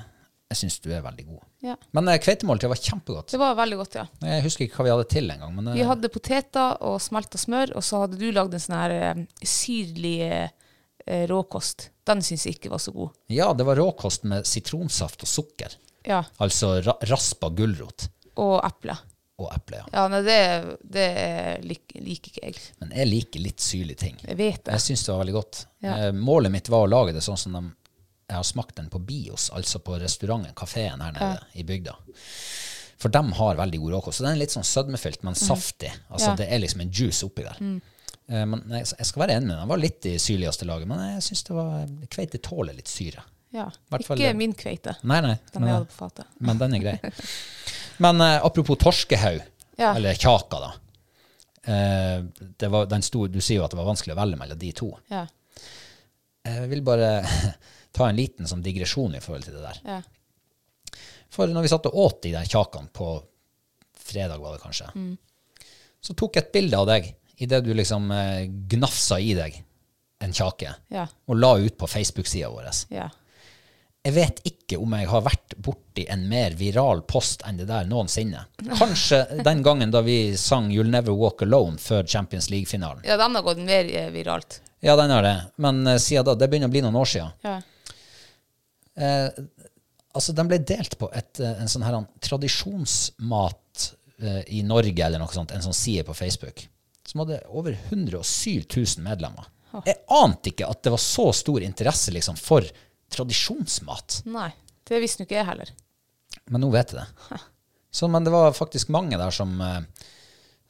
jeg syns du er veldig god. Ja. Men eh, kveitemåltidet var kjempegodt. Det var veldig godt, ja. Jeg husker ikke hva vi hadde til engang. Men eh, Vi hadde poteter og smelta smør, og så hadde du lagd en sånn her eh, syrlig eh, råkost. Den syns jeg ikke var så god. ja, det var råkost med sitronsaft og sukker. Ja, Altså ra raspa gulrot Og eple. og eple. Ja. Ja, nei, det, det lik, liker ikke jeg. Men jeg liker litt syrlige ting. Jeg vet det. Jeg syns det var veldig godt. Ja. Eh, målet mitt var å lage det sånn som de, jeg har smakt den på Bios, altså på restauranten, kafeen her nede i bygda. For de har veldig god råkost. Så den er litt sånn sødmefylt, men saftig. Altså Mhm. Ja. Mm. Det er liksom en juice oppi der. Eh, men jeg, jeg skal være enig med deg. Den var litt i syrligste laget, men jeg syns det var Kveite tåler litt syre. Ja. hvert fall Ikke det. Mm. min kveite. Nei, nei. Den jeg hadde på fatet. Men den er grei. Men eh, apropos torskehaug, Ja. eller kjaka, da. Eh, det var, den sto, du sier jo at det var vanskelig å velge mellom de to. Ja. Eh, Jeg vil bare ta en liten sånn digresjon i forhold til det der. ja. For når vi satt og åt de der kjakene på fredag, var det kanskje, så tok jeg et bilde av deg idet du liksom eh, gnafsa i deg en kjake Ja. og la ut på Facebook-sida vår. Ja. Jeg vet ikke om jeg har vært borti en mer viral post enn det der noensinne. Kanskje den gangen da vi sang 'You'll Never Walk Alone' før Champions League-finalen. ja, den har gått mer eh, viralt. Ja, den har det. Men eh, siden da, det begynner å bli noen år siden. Ja. Altså, den ble delt på et, eh, en sånn her han, tradisjonsmat eh, i Norge, eller noe sånt, en sånn side på Facebook, som hadde over 107 000 medlemmer. Jeg ante ikke at det var så stor interesse liksom, for tradisjonsmat. Nei, det visste nå ikke jeg heller. Men nå vet jeg det. Så, men det var faktisk mange der som, eh,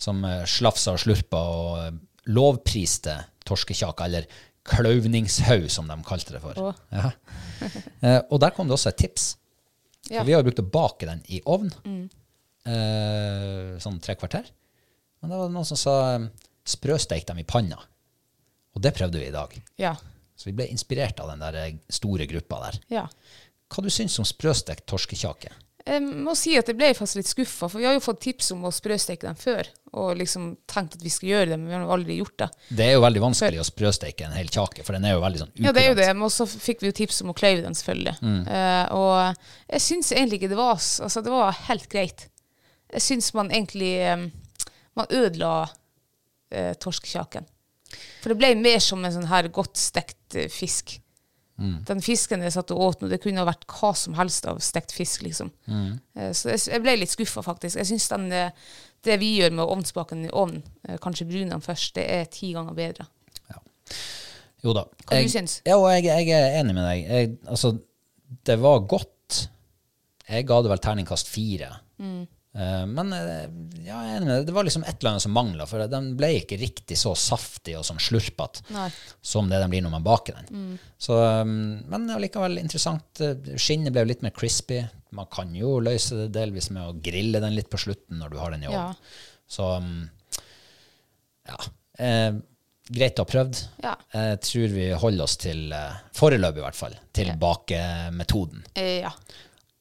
som eh, slafsa og slurpa og eh, lovpriste torskekjaka, eller kløvningshaug, som de kalte det for. Å. Ja. Eh, og der kom det også et tips. Ja. Mm. For vi har jo brukt å bake den i ovn, eh, sånn tre kvarter. Men da var det noen som sa eh, sprøsteik dem i panna. Og det prøvde vi i dag. Ja. Så vi ble inspirert av den der eh, store gruppa der. ja. Hva du syns om sprøstekt torskekjake? Jeg må si at jeg ble faktisk litt skuffa, for vi har jo fått tips om å sprøsteke dem før. Og liksom tenkt at vi skal gjøre det, men vi har jo aldri gjort det. Det er jo veldig vanskelig å sprøsteike en hel kjake, for den er jo veldig sånn ukurant. Ja, det er jo det, men så fikk vi jo tips om å kløyve den, selvfølgelig. Eh, og jeg syns egentlig ikke det var s- Altså, det var helt greit. Jeg syns man egentlig eh, Man ødela eh, torskekjaken. For det ble mer som en sånn her godt stekt eh, fisk. Den fisken jeg satt og åt nå, det kunne ha vært hva som helst av stekt fisk, liksom. Eh, så jeg, s- jeg ble litt skuffa, faktisk. Jeg syns den eh, det vi gjør med ovnsbaken i ovnen, eh, kanskje brun den først, det er ti ganger bedre. Jo da. Hva du syns? Ja, og jeg, jeg er enig med deg. Jeg, altså, det var godt. Jeg ga det vel terningkast fire. Mm. Eh, men eh, ja, jeg er enig med deg. det var liksom et eller annet som mangla, for den ble ikke riktig så saftig og sånn slurpete Nei. som det den blir når man baker den. Mm. Så, um, men allikevel interessant. Eh, Skinnet ble jo litt mer crispy. Man kan jo løse det delvis med å grille den litt på slutten når du har den i Ja. ovnen. Så um, ja. Eh, greit å ha prøvd. Ja. Jeg tror vi holder oss til, eh, foreløpig i hvert fall, til bakemetoden. Eh, ja.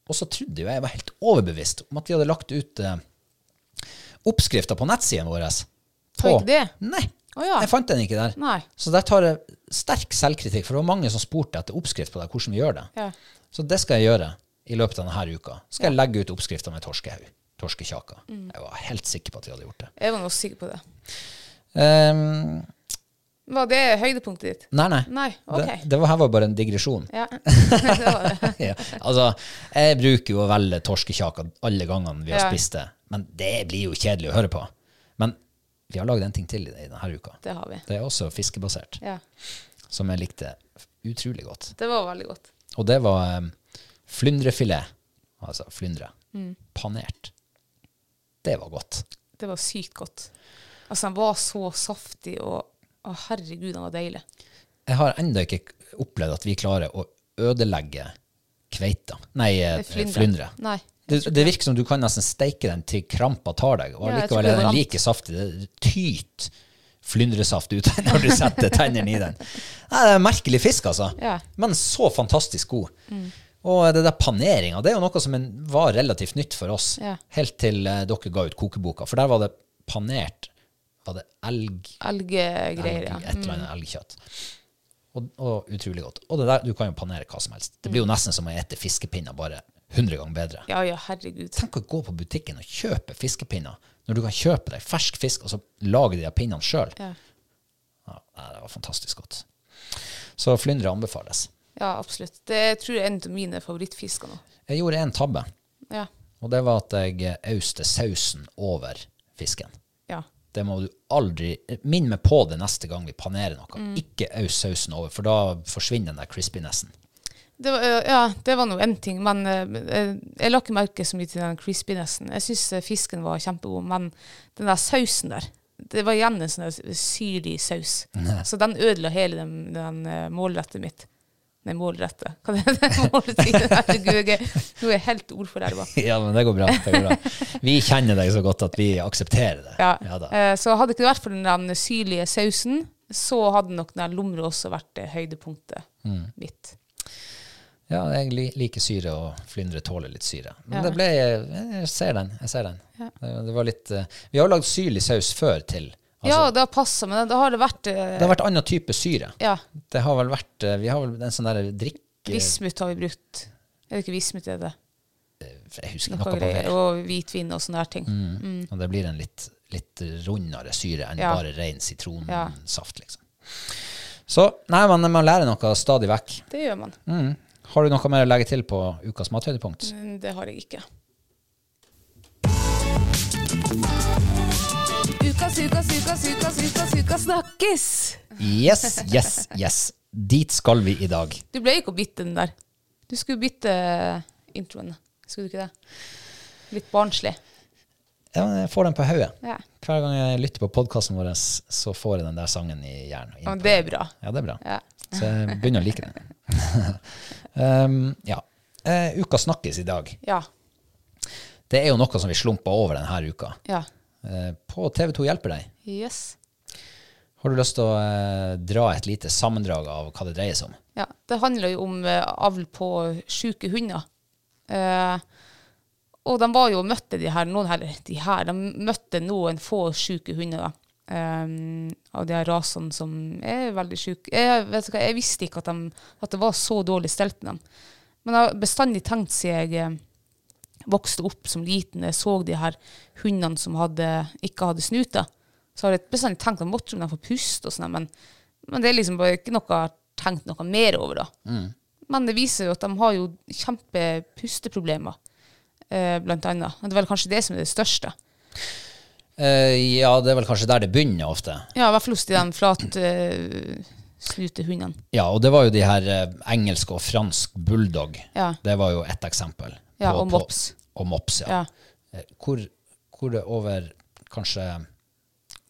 Og så trodde jo jeg var helt overbevist om at vi hadde lagt ut eh, oppskrifter på nettsiden vår. Har vi ikke det? Nei, Å ja. jeg fant den ikke der. Nei. Så der tar jeg sterk selvkritikk, for det var mange som spurte etter oppskrift på det, hvordan vi gjør det. Ja. Så det skal jeg gjøre i løpet av denne uka. Skal jeg legge ut oppskrifter med torskehaug. Torskekjaka. Jeg var helt sikker på at vi hadde gjort det. Jeg var nå sikker på det. Ehm, Var det høydepunktet ditt? nei, nei. Nei, ok. det, det var, her var bare en digresjon. Ja. det var det. ja. Altså, jeg bruker jo å velge torskekjaka alle gangene vi har Ja. spist det, men det blir jo kjedelig å høre på. Men vi har lagd en ting til i denne uka. Det har vi. Det er også fiskebasert, Ja. som jeg likte utrolig godt. Det var veldig godt. Og det var um, flyndrefilet, altså flyndre, panert. Det var godt. Det var sykt godt. Altså, den var så saftig, og å, herregud, den var deilig. Jeg har enda ikke opplevd at vi klarer å ødelegge kveita, nei, eh, flyndre. Nei. Det, det virker som du kan nesten steike den til krampa tar deg, og Ja, jeg tror likevel det er går den an. like saftig. Det tyter flyndresaft ut når du setter tennene i den. Nei, det er en merkelig fisk, altså. Ja. Mm. Men så fantastisk god. Og det der paneringa, det er jo noe som en, var relativt nytt for oss, Ja. helt til eh, dere ga ut kokeboka. For der var det panert Var det elg? Elggreier, elg ja. Mm. Et eller annet elgkjøtt. Og, og utrolig godt. Og det der, du kan jo panere hva som helst. Det blir jo Mm. nesten som å ete fiskepinner, bare 100 ganger bedre. Ja, ja, herregud. Tenk å gå på butikken og kjøpe fiskepinner, når du kan kjøpe deg fersk fisk og så lage de her pinnene sjøl. Ja. Ja, nei, det var fantastisk godt. Så flyndre anbefales. ja, absolutt. Det tror jeg er en av mine favorittfisker nå. Jeg gjorde en tabbe, Ja. og det var at jeg auste sausen over fisken. ja. Det må du aldri Minn meg på det neste gang vi panerer noe. Ikke aus sausen over, for da forsvinner den der crispinessen. Det var, øh, ja, det var nå én ting, men øh, øh, jeg la ikke merke så mye til den crispinessen. Jeg syns fisken var kjempegod, men den der sausen der Det var igjen en sånn der syrlig saus. Så den ødela hele den, den øh, målrettet mitt. Nei, målrettet. Hva er det? Målrettet. Herregud, jeg er- nå er jeg helt ordforderva. Ja, men det går bra. Det går bra. Vi kjenner deg så godt at vi aksepterer det. Ja. da. Eh, så hadde ikke det vært for den der syrlige sausen, så hadde nok den lomra også vært eh, høydepunktet Mm. mitt. Ja, jeg li- liker syre, og flyndre tåler litt syre. Men Ja. det ble Jeg ser den. jeg ser den. Det, det var litt eh, Vi har lagd syrlig saus før til. ja, Altså, det har passa, men da har det vært eh, det har vært annen type syre. Ja. Det har vel vært eh, Vi har vel en sånn der drikk... Vismut har vi brukt. Er det ikke vismut det er det? Jeg husker Noe noe på greier. det. Og hvitvin og sånne her ting. Og det blir en litt, litt rundere syre enn Ja. bare ren sitronsaft, liksom. Så nei, man, man lærer noe stadig vekk. Det gjør man. Mm. Har du noe mer å legge til på ukas mathøydepunkt? Men Det har jeg ikke. Ukas, ukas, ukas, ukas, ukas, ukas snakkes! Yes, yes, yes. Dit skal vi i dag. Du ble ikke å bytte den der. Du skulle bytte introen. Skulle du ikke det? Litt barnslig. Ja, jeg får den på hodet. Ja. Hver gang jeg lytter på podkasten vår, så får jeg den der sangen i hjernen. Ja, men det er bra. Ja, det er bra. Ja. Så jeg begynner å like den. um, ja. Eh, uka snakkes i dag. Ja. Det er jo noe som vi slumpa over denne uka. ja. Eh, på TV2 Hjelper deg. Yes. Har du lyst til å eh, dra et lite sammendrag av hva det dreier seg om? Ja, det handler jo om eh, avl på syke hunder. Eh, og de var jo og møtte de her, noen her, de her, de møtte noen få syke hunder da. Eh, av de her rasene som er veldig syke. Jeg, vet du hva, jeg visste ikke at, de, at det var så dårlig stelt med dem. Men jeg har bestandig tenkt siden jeg eh, vokste opp som liten, jeg så de her hundene som hadde, ikke hadde snuter, så har jeg bestandig tenkt at måtte de få puste og sånn, men, men det er liksom bare ikke noe jeg har tenkt noe mer over da. Mm. Men det viser jo at de har jo kjempepusteproblemer, eh, blant annet. Og Det er vel kanskje det som er det største. Eh, ja, det er vel kanskje der det begynner ofte. Ja, i hvert fall hos de flat eh, snute hundene. Ja, og det var jo de her eh, engelske og fransk bulldog. Ja. Det var jo ett eksempel. Ja, på- og på- mops. Og mops, ja. Ja. Eh, Hvor, hvor det over kanskje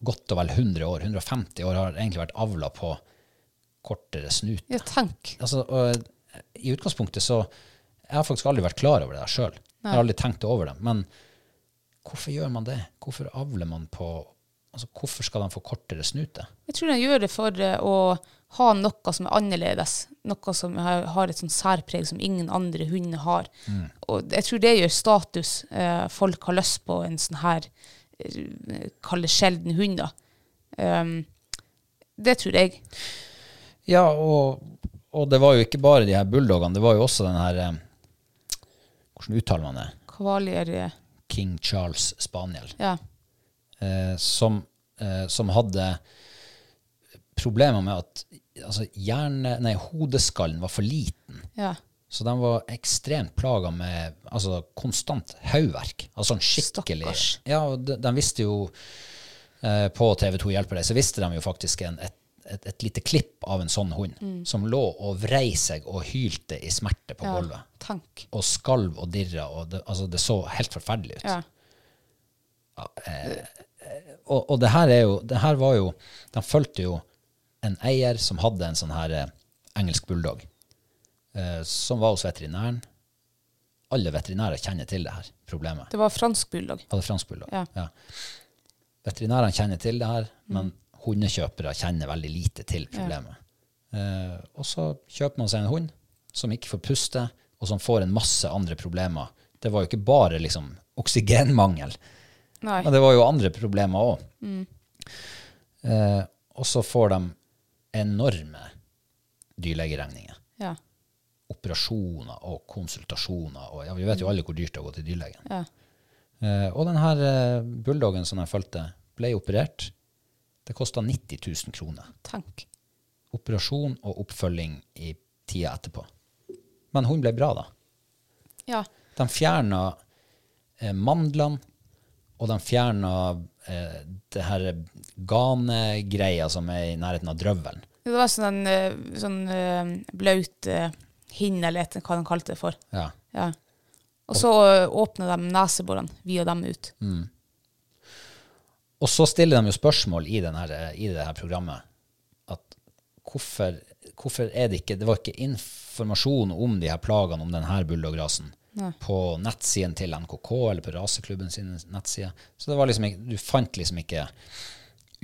godt og vel 100 år, 150 år, har egentlig vært avla på kortere snut. Ja, tenk. Altså, og, I utgangspunktet så Jeg har faktisk aldri vært klar over det der sjøl. Jeg har aldri tenkt over det. Men hvorfor gjør man det? Hvorfor avler man på altså Hvorfor skal de få kortere snute? Jeg tror de gjør det for eh, å ha noe som er annerledes. Noe som har, har et sånn særpreg som ingen andre hunder har. Og jeg tror det gjør status. Eh, folk har lyst på en sånn her eh, Kall det sjelden hund, da. Um, det tror jeg. Ja, og, og det var jo ikke bare de her bulldogene. Det var jo også den her eh, Hvordan uttaler man det? Kvalier eh, King Charles Spaniel. Ja. eh, som, eh, som hadde problemer med at altså, hjerne, nei, hodeskallen var for liten. ja. Så de var ekstremt plaga med altså, konstant hodeverk. Altså sånn skikkelig Stakkars. Ja, og de, de visste jo eh, På TV2 Hjelper deg så visste de jo faktisk en, et, et, et lite klipp av en sånn hund som lå og vrei seg og hylte i smerte på Mm. ja. gulvet. Tenk. Og skalv og dirra. Og det, altså, det så helt forferdelig ut. Ja. og, og det her er jo, det her var jo De fulgte jo en eier som hadde en sånn her eh, engelsk bulldog, eh, som var hos veterinæren. Alle veterinærer kjenner til det her problemet. Det var fransk bulldog. Hadde fransk bulldog. Ja. Veterinærene kjenner til det her, men hundekjøpere kjenner veldig lite til problemet. Eh, og så kjøper man seg en hund som ikke får puste, og som får en masse andre problemer. Det var jo ikke bare liksom oksygenmangel. Nei. Men det var jo andre problemer òg. Eh, og så får de enorme dyrlegeregninger. Ja. Operasjoner og konsultasjoner. Og, ja, vi vet jo alle hvor dyrt det er å gå til dyrlegen. Ja. Eh, og den her eh, bulldoggen som jeg fulgte, ble operert. Det kosta 90 000 kroner. Tenk. Operasjon og oppfølging i tida etterpå. Men hun ble bra, da. Ja. De fjerna eh, mandlene, og de fjerna eh, det her ganegreia som er i nærheten av drøvelen. Det var sånn, eh, sånn eh, blaut eh, hinn, eller et- hva de kalte det for. Ja. Ja. Og så eh, åpner de neseborene, via dem ut. Og så stiller de jo spørsmål i, den her, eh, i det her programmet at hvorfor, hvorfor er det ikke Det var ikke informasjon om de her plagene, om denne bulldograsen, på nettsiden til NKK eller på raseklubben sin nettside. Så det var liksom ikke, du fant liksom ikke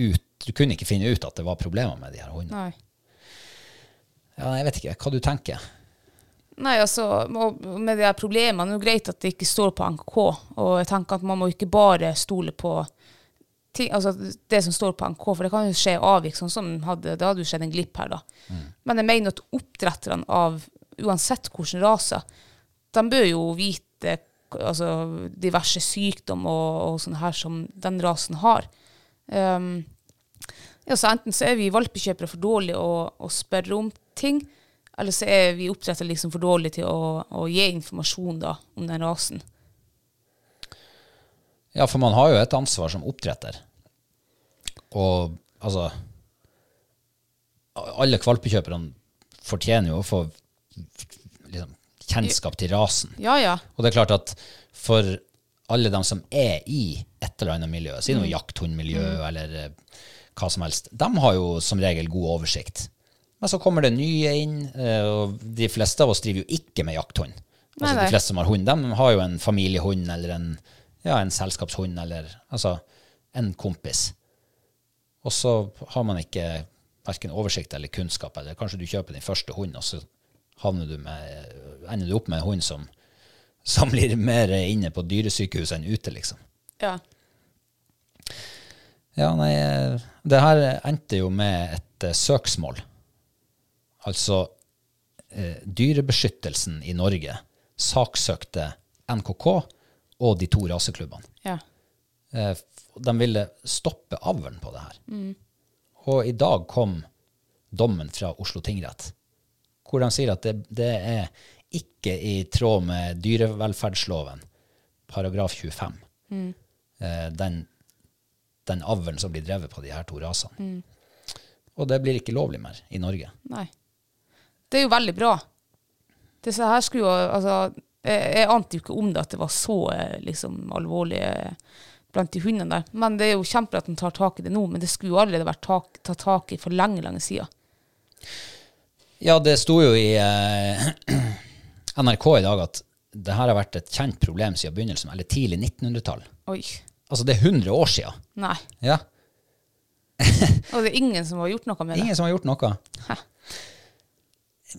ut Du kunne ikke finne ut at det var problemer med de her hundene. Nei. Ja, jeg vet ikke hva du tenker. Nei, altså, og med de her problemene, det er jo greit at det ikke står på NKK, og jeg tenker at man må ikke bare stole på ting, altså det som står på NKK, for det kan jo skje avvik, sånn som hadde, det hadde jo skjedd en glipp her da. Men jeg mener at oppdretterne av, uansett hvordan raser, de bør jo vite k- altså, diverse sykdom og, og sånne her som den rasen har. Um, ja, så enten så er vi valpekjøpere for dårlige å, å spørre om ting, eller så er vi oppdrettere liksom for dårlige til å, å gi informasjon da, om den rasen. Ja, for man har jo et ansvar som oppdretter. Og altså Alle valpekjøperne fortjener jo å få liksom, kjennskap til rasen. Ja, ja. Og det er klart at for alle dem som er i et eller annet miljø, si Mm. noe jakthundmiljø eller eh, hva som helst, de har jo som regel god oversikt. Men så kommer det nye inn, eh, og de fleste av oss driver jo ikke med jakthund. Altså, Nei, nei. De fleste som har hund, de har jo en familiehund eller en, ja, en selskapshund eller altså, en kompis. Og så har man ikke hverken oversikt eller kunnskap, eller kanskje du kjøper din første hund, og så havner du med, ender du opp med en hund som som blir mer inne på dyresykehus enn ute, liksom. ja. Ja, nei, det her endte jo med et eh, søksmål. Altså, eh, dyrebeskyttelsen i Norge saksøkte NKK og de to raseklubbene. ja. Eh, f- de ville stoppe avlen på det her. Og i dag kom dommen fra Oslo tingrett, hvor de sier at det, det er ikke i tråd med dyrevelferdsloven, paragraf 25, eh, den, den avlen som blir drevet på de her to rasene. Og det blir ikke lovlig mer i Norge. Nei. Det er jo veldig bra. Disse her skulle jo, altså, Eh, Jeg ante jo ikke om det at det var så eh, liksom, alvorlig eh, blant de hundene der. Men det er jo kjempebra at de tar tak i det nå, men det skulle jo allerede vært tak, tatt tak i for lenge, lenge siden. Ja, det sto jo i eh, NRK i dag at det her har vært et kjent problem siden begynnelsen, eller tidlig 1900-tall. Oi. Altså, det er 100 år siden. Nei. Ja. Og det er ingen som har gjort noe med det. Ingen som har gjort noe. Hæ.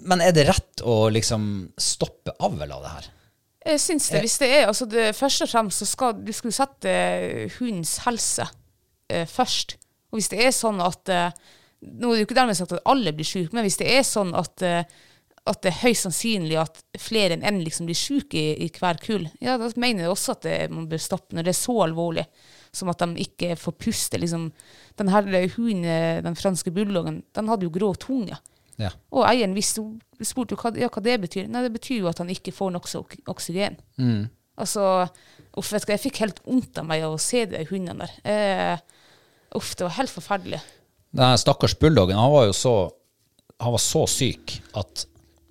Men er det rett å liksom stoppe avl av det her? Jeg syns det. Hvis det er altså det, Først og fremst så skal du skulle sette hundens helse eh, først. Og hvis det er sånn at eh, Nå er det jo ikke dermed sagt at alle blir syke, men hvis det er sånn at, eh, at det er høyst sannsynlig at flere enn én liksom blir syke i, i hver kull, ja, da mener jeg også at det, man bør stoppe når det er så alvorlig som at de ikke får puste. liksom. Den her hunden, eh, den franske bulldoggen, den hadde jo grå tunge. Ja. Og eieren visste, jo- spurte jo hva, ja, hva det betyr. Nei, det betyr jo at han ikke får nok så- oksygen. Altså, uff, vet du hva, jeg fikk helt vondt av meg av å se de hundene der. Eh, uff, det var helt forferdelig. Den her stakkars bulldoggen, han var jo så, han var så syk at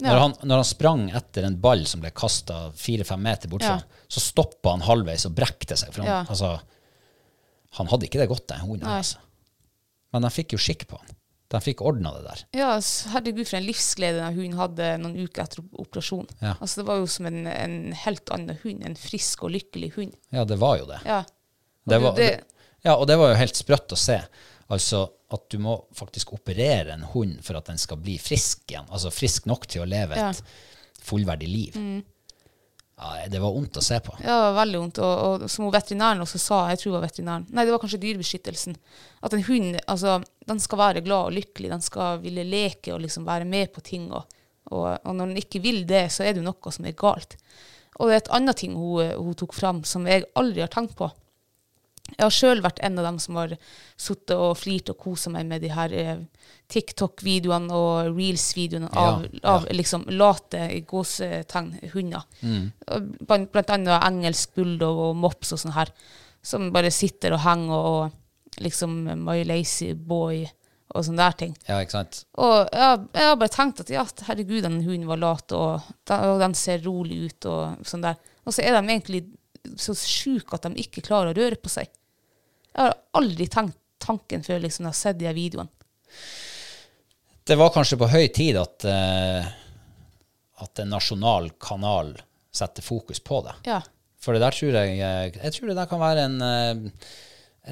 når, han, når han sprang etter en ball som ble kasta fire-fem meter bort fra Ja. ham, så stoppa han halvveis og brekte seg. For han, Ja. altså, han hadde ikke det godt, den hunden. Altså. Men de fikk jo skikk på han. De fikk ordna det der. Ja, s- herregud for en livsglede den hunden hadde noen uker etter op- operasjon. Ja. Altså, det var jo som en, en helt annen hund, en frisk og lykkelig hund. Ja, det var jo det. Ja. Og Det du- var, det, ja, og det var jo helt sprøtt å se. Altså at du må faktisk operere en hund for at den skal bli frisk igjen. Altså frisk nok til å leve et fullverdig liv. Ja, det var vondt å se på. Mm. Ja, det var veldig vondt. Og, og som hun veterinæren også sa, jeg tror det var veterinæren, nei, det var kanskje dyrebeskyttelsen, at en hund altså, den skal være glad og lykkelig, den skal ville leke og liksom være med på ting. Og, og, og når den ikke vil det, så er det jo noe som er galt. Og det er et annet ting hun, hun tok fram som jeg aldri har tenkt på. Jeg har sjøl vært en av dem som har sittet og flirt og kosa meg med de her eh, TikTok-videoene og reels-videoene av, Ja, av liksom late gåsetegn hunder. Mm. Og Blant, blant annet engelsk bulldog og mops og sånn her, som bare sitter og henger og liksom My lazy boy og sånne der ting. Ja, ikke sant? Og jeg, jeg har bare tenkt at ja, herregud, den hunden var lat, og den, og den ser rolig ut, og sånn der. Og så er de egentlig så sjuke at de ikke klarer å røre på seg. Jeg har aldri tenkt tanken før liksom, jeg har sett de her videoene. Det var kanskje på høy tid at, eh, at en nasjonal kanal setter fokus på det. Ja. For det der tror jeg eh, Jeg tror det der kan være en, eh,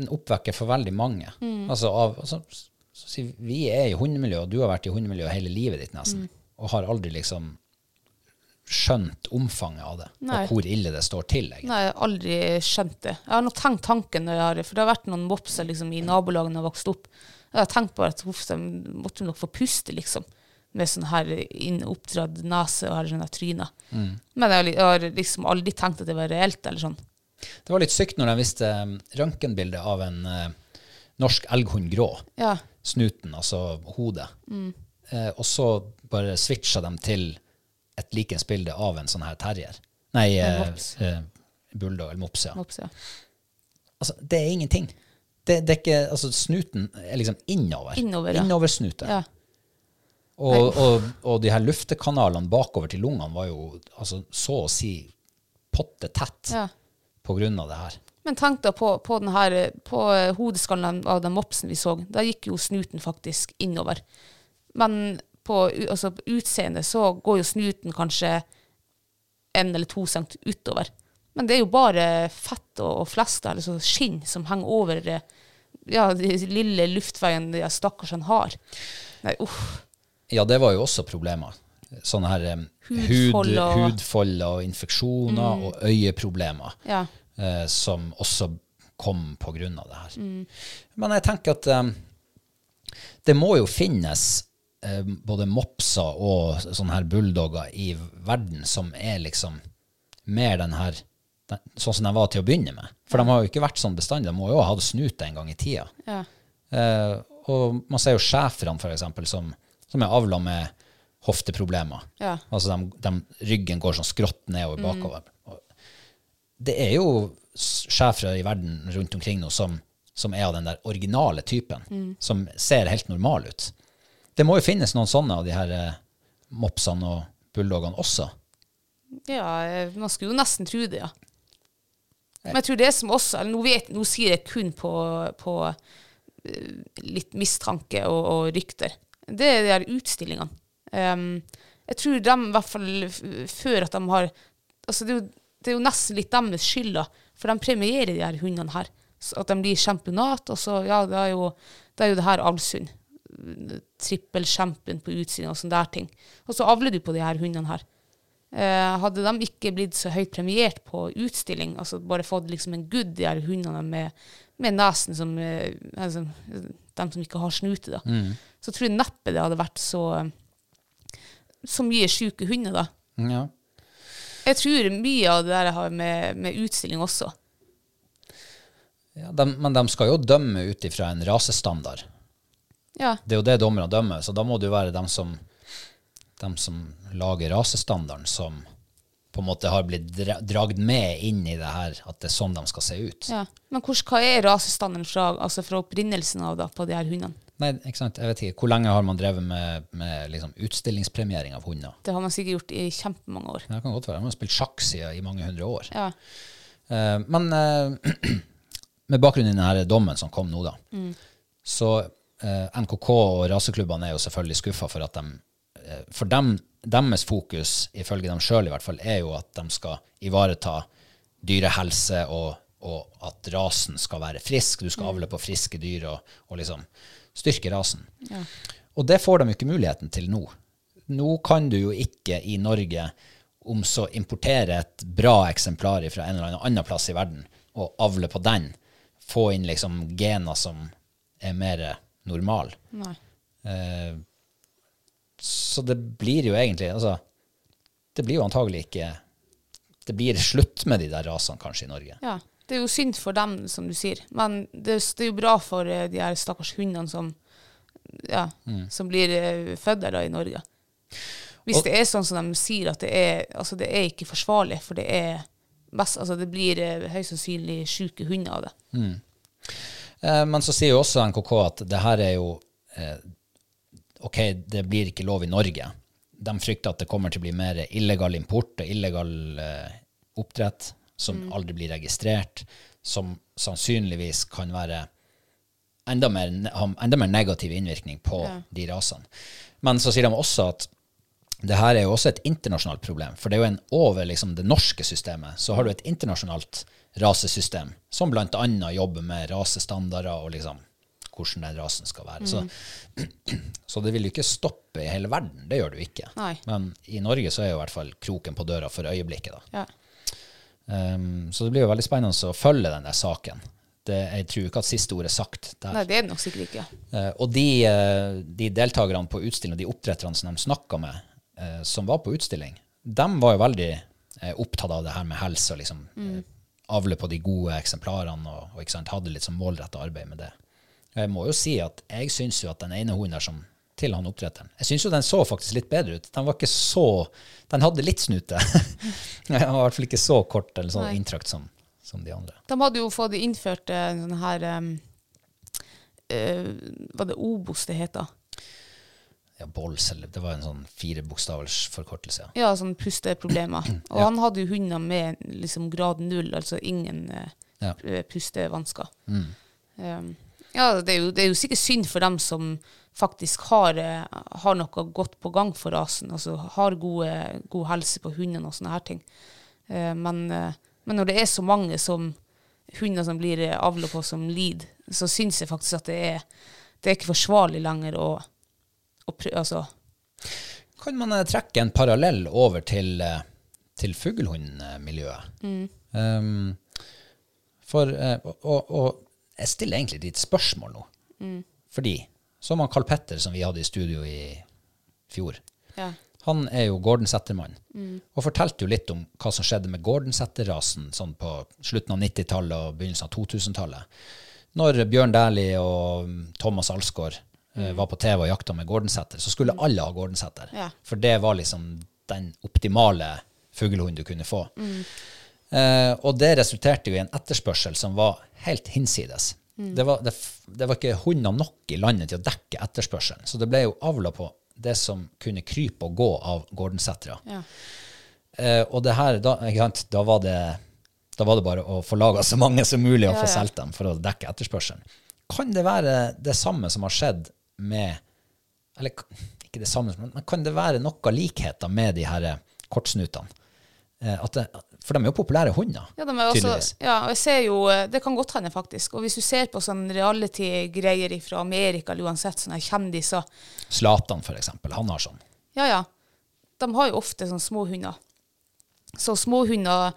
en oppvekker for veldig mange. Altså av altså, s- så si, Vi er i hundemiljø, og du har vært i hundemiljø hele livet ditt nesten, og har aldri liksom skjønt omfanget av det, Nei. og hvor ille det står til. egentlig. Nei, jeg har aldri skjønt det. Jeg har nå tenkt tanken, når jeg har, for det har vært noen mopser liksom, i nabolaget når jeg vokste opp. Jeg har tenkt bare at uff, de måtte nok få puste, liksom. Med sånn her inn- oppdratt nese og her sånn her tryne. Men jeg har, li- jeg har liksom aldri tenkt at det var reelt, eller sånn. Det var litt sykt når jeg viste eh, røntgenbildet av en eh, norsk elghund grå. Ja. snuten, altså hodet. Mm. Eh, og så bare switcha de til et likens bilde av en sånn her terrier. Nei, En eh, mops. eh, bulldog eller mops, ja. Mops, ja. Altså, det er ingenting. Det, det er ikke, altså, snuten er liksom innover. Innover, ja. Innoversnuten. ja. Og, og, og de her luftekanalene bakover til lungene var jo altså, så å si potte tett ja. på grunn av det her. Men tenk da på, på, den her, eh, på eh, hodeskallen av den mopsen vi så. Der gikk jo snuten faktisk innover. Men på u- altså, på utseendet så går jo snuten kanskje en eller to cent utover. Men det er jo bare fett og, og flester, eller så skinn, som henger over eh, ja, de lille luftveien de her stakkarsene har. Nei, uff. Ja, det var jo også problemer. Sånne her um, hud, Hudfold og- Mm. hudfold og infeksjoner og øyeproblemer Ja. eh, som også kom på grunn av det her. Men jeg tenker at um, det må jo finnes eh, både mopser og sånne her bulldogger i verden som er liksom mer den her den, sånn som de var til å begynne med. For de har jo ikke vært sånn bestandig. De må jo ha hatt snute en gang i tida. ja. Eh, og man ser jo schæferne, for eksempel, som, som er avla med hofteproblemer. Ja. Altså de, de, ryggen går sånn skrått nedover bakover. Og Det er jo schæfere i verden rundt omkring nå som, som er av den der originale typen, som ser helt normal ut. Det må jo finnes noen sånne av de her eh, mopsene og bulldogene også. Ja, eh, man skulle jo nesten tro det, ja. Men jeg tror det som også eller nå, vet, nå sier jeg kun på, på eh, litt mistanke og, og rykter. Det er de her utstillingene. Ehm, jeg tror de, i hvert fall f- før at de har altså det, er jo, det er jo nesten litt deres skyld, da. For de premierer de her hundene her. Så at de blir championat, og så Ja, det er jo det, er jo det her Alsund. Trippelchampion på utsiden og sånne der ting. Og så avler du på de her hundene her. Eh, hadde de ikke blitt så høyt premiert på utstilling, altså bare fått liksom en good, de her hundene med, med nesen som eh, altså, De som ikke har snute, da. Så tror jeg neppe det hadde vært så så mye sjuke hunder, da. Ja. Jeg tror mye av det der har med, med utstilling også. Ja, de, men de skal jo dømme ut ifra en rasestandard. Ja. Det er jo det dommerne dømmer, så da må det jo være dem som, dem som lager rasestandarden, som på en måte har blitt dra- dragd med inn i det her, at det er sånn de skal se ut. ja. Men hvordan, hva er rasestandarden fra, altså fra opprinnelsen av da, på de her hundene? Nei, ikke sant? Jeg vet ikke. Hvor lenge har man drevet med, med liksom utstillingspremiering av hunder? Det har man sikkert gjort i kjempemange år. Det kan godt være. Man har spilt sjakk siden i mange hundre år. Ja. Eh, men eh, med bakgrunn i denne dommen som kom nå, da, så eh, NKK og raseklubbene er jo selvfølgelig skuffa for at de eh, For dem, deres fokus, ifølge dem sjøl i hvert fall, er jo at de skal ivareta dyrehelse og, og at rasen skal være frisk. Du skal avle på friske dyr og, og liksom styrke rasen. Og det får de jo ikke muligheten til nå. Nå kan du jo ikke i Norge om så importere et bra eksemplar fra en eller annen annen plass i verden og avle på den. Få inn liksom gener som er mer normal. Nei. Eh, så det blir jo egentlig altså, Det blir jo antagelig ikke Det blir slutt med de der rasene kanskje i Norge. Ja. Det er jo synd for dem, som du sier. Men det, det er jo bra for eh, de her stakkars hundene som, ja, som blir eh, født der da, i Norge. Hvis Og- det er sånn som de sier, at det er, altså, det er ikke forsvarlig, for det er mest, altså, det blir eh, høyst sannsynlig syke hunder av det. Eh, men så sier jo også NKK at det her er jo eh, Ok, det blir ikke lov i Norge. De frykter at det kommer til å bli mer illegal import og illegal eh, oppdrett som aldri blir registrert, som sannsynligvis kan være enda mer, ne- ha enda mer negativ innvirkning på de rasene. Men så sier de også at det her er jo også et internasjonalt problem. For det er jo en over liksom, det norske systemet. Så har du et internasjonalt rasesystem som bl.a. jobber med rasestandarder og liksom, hvordan den rasen skal være. Så, så det vil jo ikke stoppe i hele verden. Det gjør det jo ikke. Mm. Nei. Men i Norge så er jo i hvert fall kroken på døra for øyeblikket. da. Ja. Um, så det blir jo veldig spennende å følge den der saken. Det, jeg tror ikke at siste ord er sagt der. Nei, det er det nok sikkert ikke. Eh, og de, eh, de deltakerne på utstillingen, de oppdretterne som de snakka med, eh, som var på utstilling, de var jo veldig eh, opptatt av det her med helse og liksom eh, avle på de gode eksemplarene og, og ikke sant, hadde litt sånn målretta arbeid med det. Og Jeg må jo si at jeg syns jo at den ene hunden der som til han oppdretteren. Jeg syns jo den så faktisk litt bedre ut. Den var ikke så Den hadde litt snute. den var i hvert fall ikke så kort eller sånn inntrakt som, som de andre. De hadde jo fått innført eh, en sånn her um, eh, Var det Obos det heter? Ja, Bolls, eller Det var en sånn firebokstavers forkortelse. Ja. Ja, sånn pusteproblemer. Og han hadde jo hunder med liksom grad null, altså ingen eh, Ja. Mm. p- pustevansker. Um, ja, det er, jo, det er jo sikkert synd for dem som faktisk har, eh, har noe godt på gang for rasen, altså har gode, god helse på hundene og sånne her ting. Eh, men, eh, men når det er så mange som hunder som blir eh, avlet på som lider, så syns jeg faktisk at det er, det er ikke forsvarlig lenger å, å prø- altså, kan man eh, trekke en parallell over til, eh, til fuglehundmiljøet. Um, for, eh, og, og, og jeg stiller egentlig ditt spørsmål nå. Mm. Fordi, som han Carl Petter som vi hadde i studio i fjor, ja. Mm. han er jo Gordensætermann, og fortalte jo litt om hva som skjedde med Gordensæterrasen sånn på slutten av 90-tallet og begynnelsen av 2000-tallet. Når Bjørn Dæhlie og mm, Thomas Alsgaard eh, var på TV og jakta med Gordensæter, så skulle alle ha Gordensæter. Mm. Ja. For det var liksom den optimale fuglehunden du kunne få. Eh, og det resulterte jo i en etterspørsel som var helt hinsides. Mm. Det, var, det, f- det var ikke hunder nok i landet til å dekke etterspørselen, så det ble jo avla på det som kunne krype og gå av gårdensettere. Ja. Eh, og det her, da, ikke sant? Da, var det, da var det bare å få laga så mange som mulig og Ja, få ja. solgt dem for å dekke etterspørselen. Kan det være det samme som har skjedd med Eller k- ikke det samme, men men kan det være noe likheter med de her eh, kortsnutene? Eh, at det, for de er jo populære hunder, Ja, de er også, ja, og jeg ser jo, eh, det kan godt hende faktisk. Og hvis du ser på sånn reality-greier fra Amerika, eller uansett sånne kjendiser, Zlatan, for eksempel, han har sånn. ja ja, de har jo ofte sånne små hunder. Så små hunder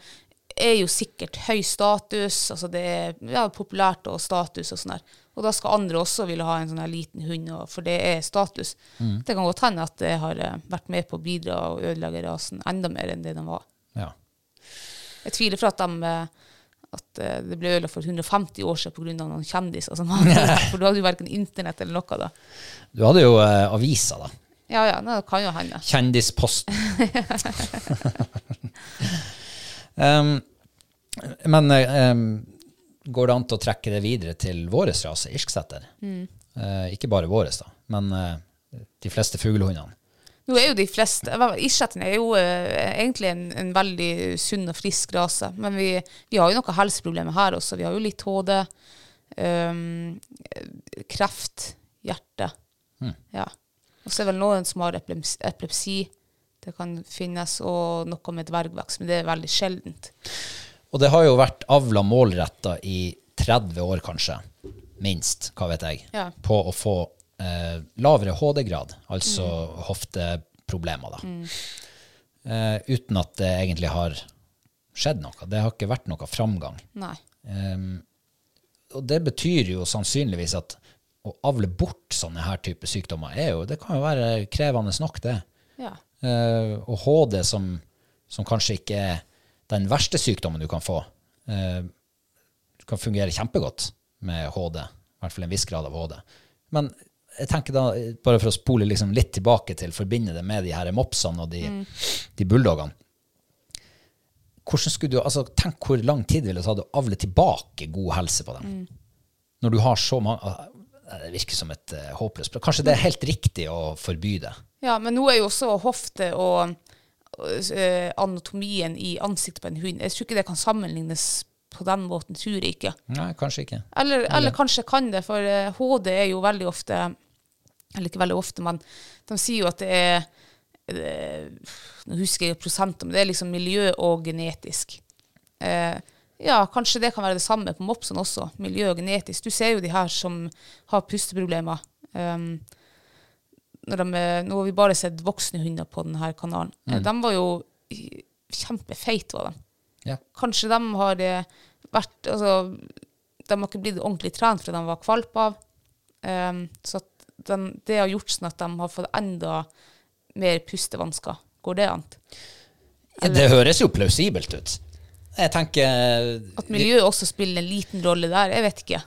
er jo sikkert høy status, altså det er ja, populært og status og sånn der. Og da skal andre også ville ha en sånn her liten hund, og- for det er status. Det kan godt hende at det har eh, vært med på å bidra og ødelegge rasen enda mer enn det den var. Ja. Jeg tviler for at, de, eh, at eh, det ble ødelagt for 150 år siden pga. noen kjendiser. Som hadde, det der, for da hadde jo verken internett eller noe. da. Du hadde jo eh, aviser, da. Ja, ja, det kan jo hende. Kjendisposten. um, men eh, um, går det an til å trekke det videre til vår rase, irsksetter? Mm. Eh, ikke bare vår, da, men eh, de fleste fuglehundene. Nå er jo de fleste, Irsetten er jo eh, egentlig en, en veldig sunn og frisk rase, men vi, vi har jo noen helseproblemer her også. Vi har jo litt HD, ehm, kreft, hjerte. Ja. Og så er det vel noen som har epilems- epilepsi. Det kan finnes, og noe med dvergvekst, men det er veldig sjeldent. Og det har jo vært avla målretta i 30 år, kanskje, minst, hva vet jeg, Ja. på å få eh, lavere HD-grad, altså hofteproblemer, da. Eh, uten at det egentlig har skjedd noe. Det har ikke vært noe framgang. Nei. Ehm, og det betyr jo sannsynligvis at å avle bort sånne her type sykdommer er jo, det kan jo være krevende nok, det. Ja. Eh, og HD, som, som kanskje ikke er den verste sykdommen du kan få, eh, du kan fungere kjempegodt med HD, i hvert fall en viss grad av HD. Men jeg tenker da, eh, bare for å spole liksom litt tilbake til, forbinde det med de her mopsene og de, de bulldogene. Hvordan skulle du, altså Tenk hvor lang tid ville det tatt å avle tilbake god helse på dem. Når du har så mange ah, Det virker som et eh, håpløst Kanskje det er helt riktig å forby det? Ja, men nå er jo også hofte og eh, anatomien i ansiktet på en hund Jeg tror ikke det kan sammenlignes på den måten, tror jeg ikke. Nei, kanskje ikke. Eller, eller kanskje kan det, for eh, HD er jo veldig ofte Eller ikke veldig ofte, men de sier jo at det er eh, Nå husker jeg prosenter, men det er liksom miljø og genetisk. Eh, ja, kanskje det kan være det samme på mopsen også. Miljø og genetisk. Du ser jo de her som har pusteproblemer. Um, når de, er- nå har vi bare sett voksne hunder på denne kanalen. Eh, De var jo kjempefeite, var de. Ja. Kanskje de har eh, vært altså, De har ikke blitt ordentlig trent fra de var kvalp av. Ehm, så at den, det har gjort sånn at de har fått enda mer pustevansker. Går det an? Det høres jo plausibelt ut. Jeg tenker At miljøet også spiller en liten rolle der? Jeg vet ikke.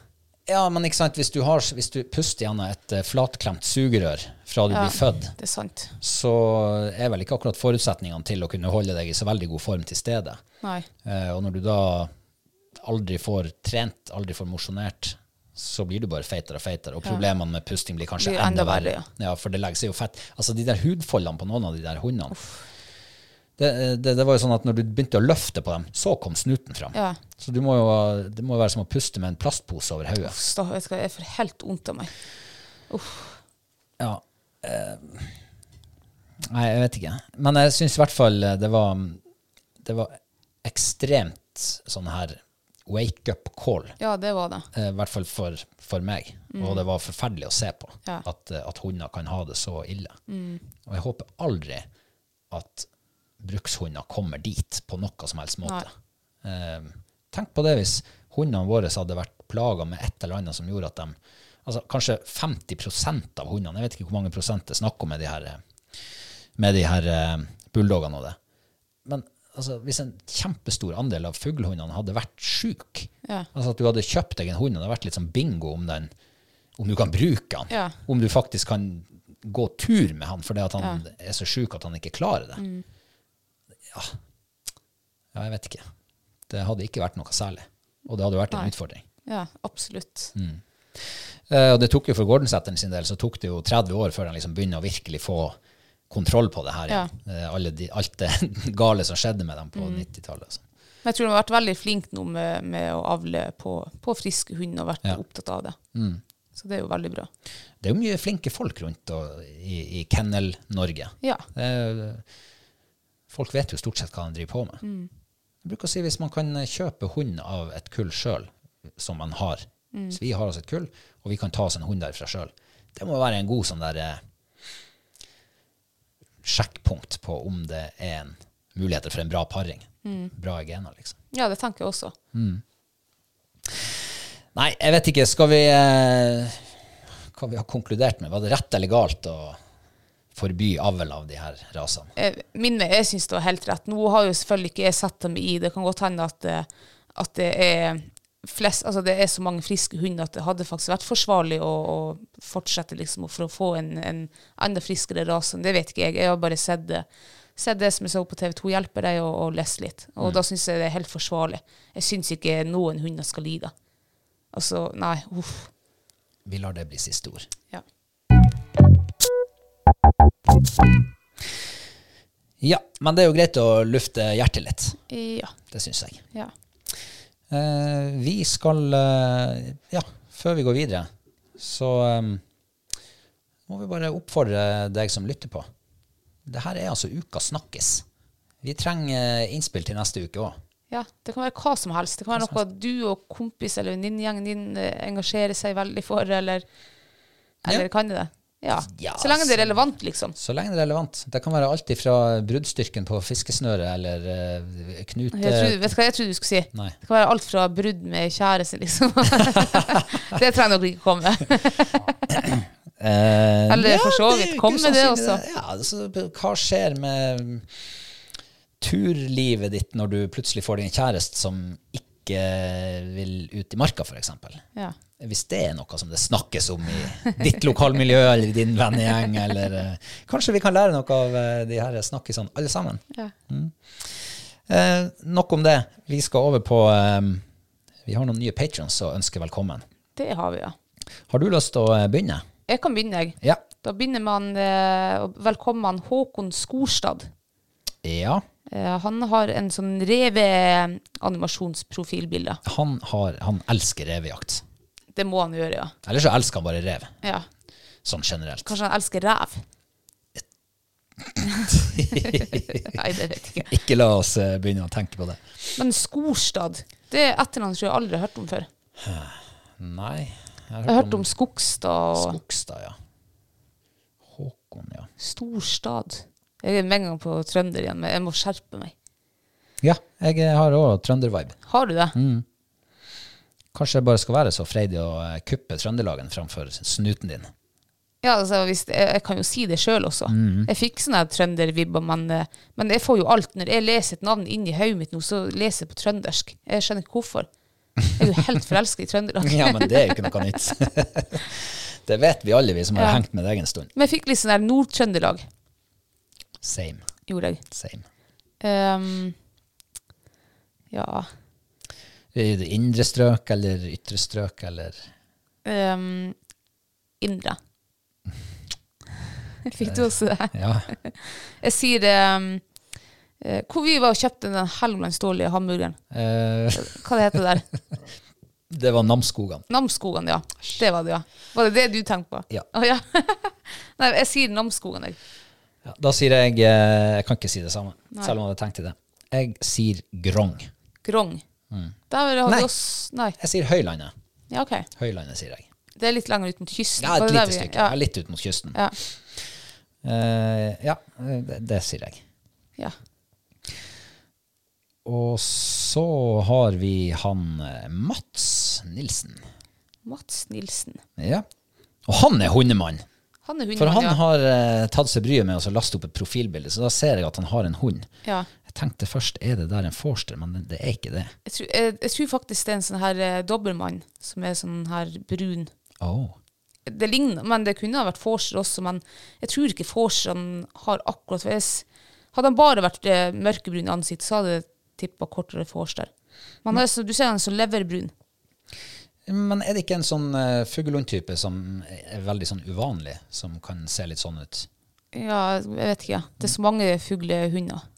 Ja, men ikke sant, hvis du, har, hvis du puster gjennom et eh, flatklemt sugerør fra du blir født, Det er sant. så er vel ikke akkurat forutsetningene til å kunne holde deg i så veldig god form til stede. Nei. Eh, og når du da aldri får trent, aldri får mosjonert, så blir du bare feitere og feitere, og problemene med pusting blir kanskje Blir enda, enda verre, verre. Ja. for det legger seg jo fett. Altså de der hudfoldene på noen av de der hundene, det, det, det var jo sånn at når du begynte å løfte på dem, så kom snuten fram. Ja. Så du må jo, det må jo være som å puste med en plastpose over hodet. Stav, vet du hva, jeg får helt vondt av meg. Ja. eh, nei, jeg vet ikke. Men jeg syns i hvert fall eh, det var Det var ekstremt sånn her wake up call. Ja, det var det. eh, I hvert fall for, for meg. Og det var forferdelig å se på Ja. at, eh, at hunder kan ha det så ille. Og jeg håper aldri at brukshunder kommer dit på noe som helst måte. Eh, tenk på det hvis hundene våre hadde vært plaga med et eller annet som gjorde at de altså Kanskje 50 av hundene, jeg vet ikke hvor mange prosent det er snakk om med de her, eh, med de her eh, bulldogene og det. Men altså, hvis en kjempestor andel av fuglehundene hadde vært syk, Ja. altså at du hadde kjøpt deg en hund og det hadde vært litt sånn bingo om den, om du kan bruke den, Ja. om du faktisk kan gå tur med han fordi at han er så syk at han ikke klarer det. Mm. Ja. ja, jeg vet ikke. Det hadde ikke vært noe særlig. Og det hadde vært en Nei. utfordring. Ja, absolutt. Eh, Og det tok jo for Gordonsetteren sin del så tok det jo 30 år før han liksom begynner å virkelig få kontroll på det her Ja. igjen. Eh, Alle de, alt det gale som skjedde med dem på 90-tallet. altså. Men jeg tror de har vært veldig flinke nå med, med å avle på, på friske hunder og vært opptatt av det. Så det er jo veldig bra. Det er jo mye flinke folk rundt og, i, i Kennel-Norge. Ja. Det er- eh, Folk vet jo stort sett hva de driver på med. Jeg bruker å si hvis man kan eh, kjøpe hund av et kull sjøl, som man har Så vi har oss et kull, og vi kan ta oss en hund derfra sjøl. Det må være en god sånn der eh, sjekkpunkt på om det er en muligheter for en bra paring. Bra i gena, liksom. ja, det tenker jeg også. Nei, jeg vet ikke. Skal vi eh, Hva vi har konkludert med? Var det rett eller galt å forby avl av de her rasene? Eh, Min, jeg syns det var helt rett. Nå har jo selvfølgelig ikke jeg sett dem i. Det kan godt hende at, eh, at det er flest, altså det er så mange friske hunder at det hadde faktisk vært forsvarlig å, å fortsette liksom, for å få en, en enda friskere rase. Det vet ikke jeg. Jeg har bare sett det, sett det som jeg så på TV 2 hjelper deg, og, og lest litt. Og da syns jeg det er helt forsvarlig. Jeg syns ikke noen hunder skal lide. Altså, nei, uff. Vi lar det bli siste ord. Ja. Ja, men det er jo greit å lufte hjertet litt. Ja. Det syns jeg. ja. Eh, vi skal eh, Ja, før vi går videre, så eh, må vi bare oppfordre deg som lytter på. Det her er altså uka snakkes. Vi trenger eh, innspill til neste uke òg. Ja, det kan være hva som helst. Det kan være noe du og kompis eller venninnegjengen din eh, engasjerer seg veldig for, eller, eller kan det det? Ja. Ja, Så lenge det er relevant, liksom. Så lenge det er relevant. Det kan være alt fra bruddstyrken på fiskesnøret eller eh, knute... Jeg trodde, vet du hva jeg trodde du skulle si? Nei. Det kan være alt fra brudd med kjæreste, liksom. det trenger dere ikke komme med. Eh, Eller for så det er vidt. ikke Kom med det sannsynlig, også. det. Ja, altså, hva skjer med turlivet ditt når du plutselig får deg en kjæreste som ikke vil ut i marka, f.eks.? Ja. Hvis det er noe som det snakkes om i ditt lokalmiljø eller i din vennegjeng, eller eh, Kanskje vi kan lære noe av eh, de her snakkisene, alle sammen. Mm. Ja. Eh, nok om det. Vi skal over på eh, Vi har noen nye patrons som ønsker velkommen. Det har vi, ja. Har du lyst til å eh, begynne? Jeg kan begynne, jeg. Ja. Da begynner man eh, å velkomme han Håkon Skorstad. ja. Eh, han har en sånn reveanimasjonsprofilbilde. han, har, han elsker revejakt. Det må han gjøre, ja. Eller så elsker han bare rev, ja. sånn generelt. Kanskje han elsker ræv? Nei, det vet jeg ikke. Ikke la oss eh, begynne å tenke på det. Men Skorstad, det er etternavn som jeg aldri har hørt om før. Nei, Jeg har hørt om Skogstad og Skogstad, ja. Håkon, ja. Storstad. Jeg er med en gang på trønder igjen, men jeg må skjerpe meg. Ja, jeg eh, har òg trøndervibe. Har du det? Kanskje jeg bare skal være så freidig å eh, kuppe Trøndelagen framfor snuten din. Ja, altså, hvis, jeg, jeg kan jo si det sjøl også. Jeg fikk sånne trøndervibber, men, eh, men jeg får jo alt. Når jeg leser et navn inn i hodet mitt nå, så leser jeg på trøndersk. Jeg skjønner ikke hvorfor. Jeg er jo helt forelska i trøndere. Ja, men det er jo ikke noe nytt. det vet vi alle, vi som har Ja. hengt med deg en stund. Men jeg fikk litt sånn der Nord-Trøndelag, Same, gjorde jeg. same. Ehm, ja I det Indre strøk eller ytre strøk eller ehm, Indre. Fikk du også det? Ja. Jeg sier ehm, eh, Hvor vi var og kjøpte den helmelandsdårlige hamburgeren. Eh, Hva det heter det der? det var Namsskogan. Namsskogan, ja. Det var det, ja. Var det det du tenkte på? Ja. Å, ja. Nei, jeg sier Namsskogan, jeg. Ja, da sier jeg eh, Jeg kan ikke si det samme, selv om jeg hadde tenkt det. Jeg sier Grong. Grong. Der har Mm. Nei. vi oss Nei. Jeg sier Høylandet. Ja, OK. Høylandet sier jeg. Det er litt lenger ut mot kysten. Ja, Var et det der lite vi- stykke. Ja. Ja, litt ut mot kysten. Ja. Eh, ja det, det sier jeg. ja. Og så har vi han eh, Mats Nilsen. Mats Nilsen. Ja. Og han er hundemann! Han er For hundemann, han ja. har eh, tatt seg bryet med å så laste opp et profilbilde, så da ser jeg at han har en hund. ja. Jeg tenkte først er det der en forster, men det er ikke det. Jeg tror, jeg, jeg tror faktisk det er en sånn her eh, dobbermann som er sånn her brun. Oh. Det ligner, men det kunne ha vært Forser også, men jeg tror ikke Forseren har akkurat for jeg s- Hadde han bare vært eh, mørkebrun i ansiktet, så hadde jeg tippa kortere Forser. Men han er så, du ser han er så leverbrun. Men er det ikke eh, en sånn uh, fuglehundtype som er veldig sånn uvanlig, som kan se litt sånn ut? Ja, jeg vet ikke. ja. Det er så mange fuglehunder.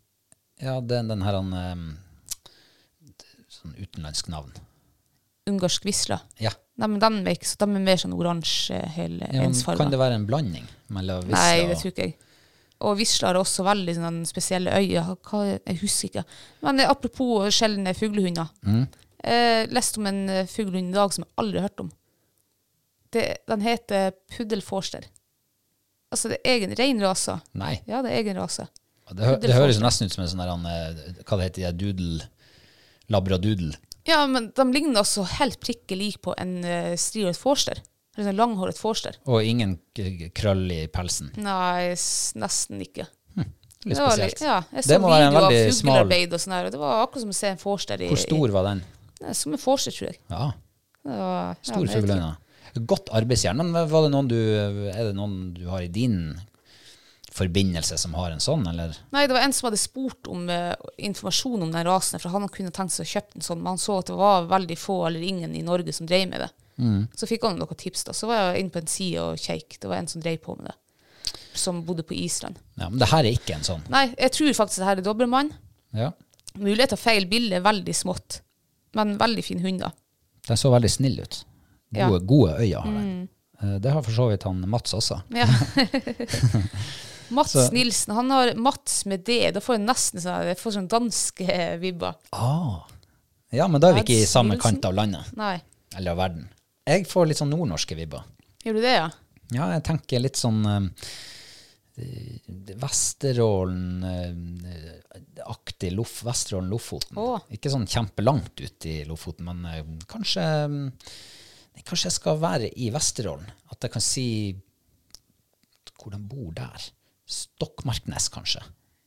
Ja, den, den her han ehm, Sånn utenlandsk navn. Ungarsk visla. Ja. Nei, men de er, ikke, så- de er mer sånn oransje, hele ja men kan det ensfarga. være en blanding mellom visse Nei, det og tror ikke jeg. Og visla har også veldig sånne spesielle øyne. Hva, jeg husker ikke. Men eh, apropos sjeldne fuglehunder. Mm. Eh, leste om en eh, fuglehund i dag som jeg aldri har hørt om. Det, den heter puddelforster. Altså, det er egen reinrase. Nei. Ja, det er egen rase. Det, hø det høres jo nesten ut som en sånn der han eh, Hva det heter det? Doodle? Labradoodle? Ja, men de ligner altså helt prikke lik på en uh, strihåret forster. Eller en langhåret forster. Og ingen k- krøll i pelsen. Nei, s- nesten ikke. Litt Det var spesielt. litt- Ja, jeg så det må være en video av veldig smal fuglearbeid og sånn her, og det var akkurat som å se en forster i Hvor stor var den? i- Som en forster, tror jeg. Ja, Det var- ja, stor men jeg vet ikke. fuglehund. ja. Godt arbeidsjern. Men var det noen du, er det noen du har i din forbindelse som har en sånn, eller? Nei, det var en som hadde spurt om eh, informasjon om den rasen, for han kunne tenkt seg å kjøpe en sånn, men han så at det var veldig få eller ingen i Norge som drev med det. Så fikk han noen tips, da. Så var jeg inne på en side og kjekk. Det var en som drev på med det, som bodde på Island. Ja, men det her er ikke en sånn. Nei, jeg tror faktisk det her er dobbeltmann. Ja. Mulighet til feil bilde er veldig smått, men veldig fin hund, da. Den så veldig snill ut. Ja. Mm. Gode, gode øyne har den. Eh, Det har for så vidt han Mats også. Ja. Mats Nilsen, han har Mats med D. Da får jeg nesten sånn, jeg får sånn danske vibber. Ah. Ja, men da er vi ikke i Mats samme Nilsen. kant av landet, Nei. eller av verden. Jeg får litt sånn nordnorske vibber. Gjør du det, ja? Ja, jeg tenker litt sånn eh, Vesterålen eh, aktig Lof, Vesterålen Lofoten. Å. Ikke sånn kjempelangt ut i Lofoten, men eh, kanskje mm, Kanskje jeg skal være i Vesterålen. At jeg kan si hvor de bor der. Stokmarknes, kanskje.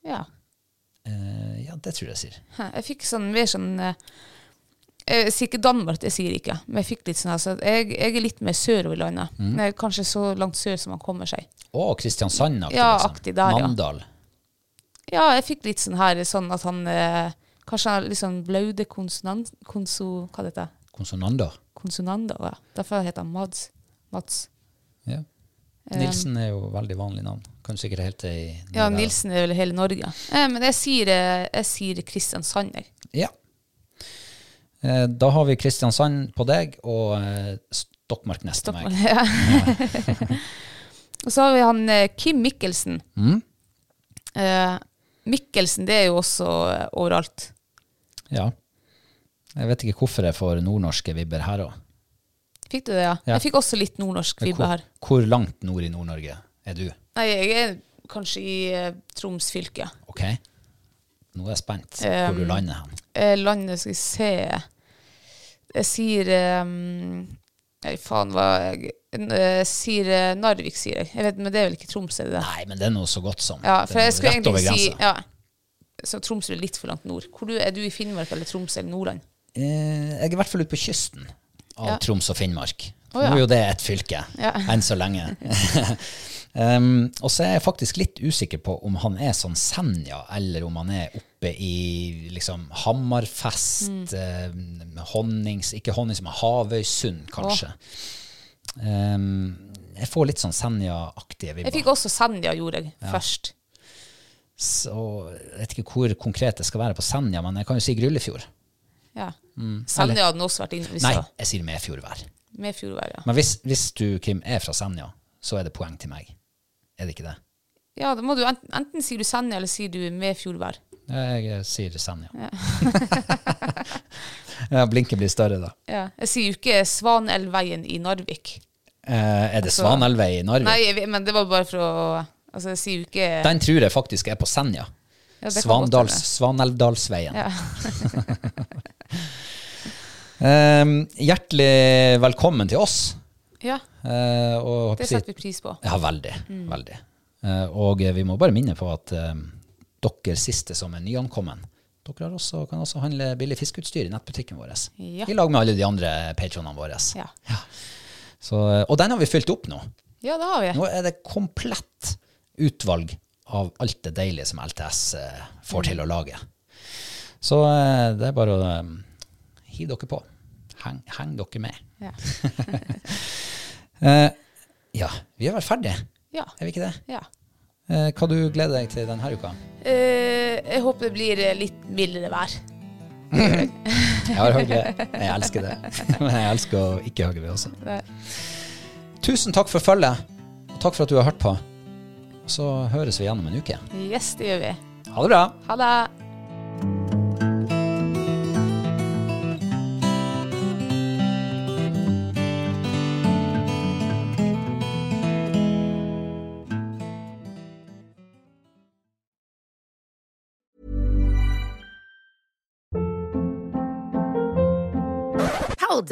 Ja. Eh, ja, det tror jeg jeg sier. Hæ, Jeg fikk sånn mer sånn eh, Jeg sier ikke Danmark, det sier jeg ikke, men jeg fikk litt sånn altså, jeg, jeg er litt mer sørover i landet. Nei, Kanskje så langt sør som man kommer seg. Å, Kristiansand-aktig, Ja, liksom. aktig der, ja. Mandal. Ja, jeg fikk litt sånn her sånn at han eh, Kanskje han har litt sånn blaude konsonant... Konso... Hva heter det? Konsonanda. konsonanter. Ja. Derfor heter han Mads. Mats. Ja. Nilsen er jo veldig vanlig navn. Kan du sikkert helt til i- Eh. Ja, Nilsen er vel hele Norge. Eh, men jeg sier, eh, jeg sier Kristiansand, jeg. Ja. Eh, Da har vi Kristiansand på deg og eh, Stokmark neste meg. Ja. Og så har vi han eh, Kim Mikkelsen. Mm, Eh, Mikkelsen, det er jo også eh, overalt. Ja. Jeg vet ikke hvorfor jeg får nordnorske vibber her òg. Fikk du det, ja? Ja. Jeg fikk også litt nordnorsk vibbe Hvor, her. hvor langt nord i Nord-Norge er du? Nei, jeg er kanskje i eh, Troms fylke. Ok? Nå er jeg spent Um, hvor du lander hen. Eh, landet skal vi se Jeg sier eh, Nei, faen hva jeg eh, sier eh, Narvik, sier jeg. jeg vet, men det er vel ikke Troms, er det det? Nei, men det er nå så godt som. Ja, Det for er jeg nå skulle rett over egentlig si grensa. ja. Så Troms er litt for langt nord. Hvor du, er du i Finnmark eller Troms eller Nordland? Eh, Jeg er i hvert fall ute på kysten av Ja. Troms og Finnmark. Å, ja. Nå er jo det ett fylke, Ja. enn så lenge. um, og så er jeg faktisk litt usikker på om han er sånn Senja, eller om han er oppe i liksom Hammerfest, Mm. eh, Honnings Ikke Honnings, men Havøysund, kanskje. Um, jeg får litt sånn Senja-aktige Jeg vibber. fikk også Senja, gjorde jeg, først. Så jeg vet ikke hvor konkret jeg skal være på Senja, men jeg kan jo si Gryllefjord. Ja. Senja hadde den også vært inne i Mm. Nei, stad. jeg sier Medfjordvær. Med Fjordvær, ja. Men hvis, hvis du, Kim, er fra Senja, så er det poeng til meg. Er det ikke det? ja da må du, enten, enten sier du Senja, eller sier du med Fjordvær. Jeg eh, sier Senja. Ja. blinket blir større, da. Ja. Jeg sier jo ikke Svanelvveien i Narvik. Eh, er det Altså- Svanelvei i Narvik? Nei, jeg vet- men det var bare for å Altså, jeg sier jo ikke Den tror jeg faktisk er på Senja. ja, det kan godt Svandals, hende. Svanelvdalsveien. Ja. Eh, hjertelig velkommen til oss. ja, Eh, og det setter vi pris på. Ja, veldig. veldig. Eh, og eh, vi må bare minne på at eh, dere siste som er nyankommen, dere har også, kan også handle billig fiskeutstyr i nettbutikken vår. Ja. I lag med alle de andre patronene våre. Ja. Så, eh, og den har vi fylt opp nå. ja, det har vi. Nå er det komplett utvalg av alt det deilige som LTS eh, får til å lage. Så eh, det er bare å eh, hi dere på. Heng, heng dere med. Ja. Eh, ja, vi er vel ferdige, Ja. er vi ikke det? ja. Eh, Hva du gleder deg til denne uka? Eh, jeg håper det blir eh, litt mildere vær. Jeg har høgle. Jeg elsker det. Men jeg elsker å ikke hogge ved også. Det- Tusen takk for følget, og takk for at du har hørt på. Så høres vi igjen om en uke. Yes, det gjør vi. Ha det bra. Ha det. Hold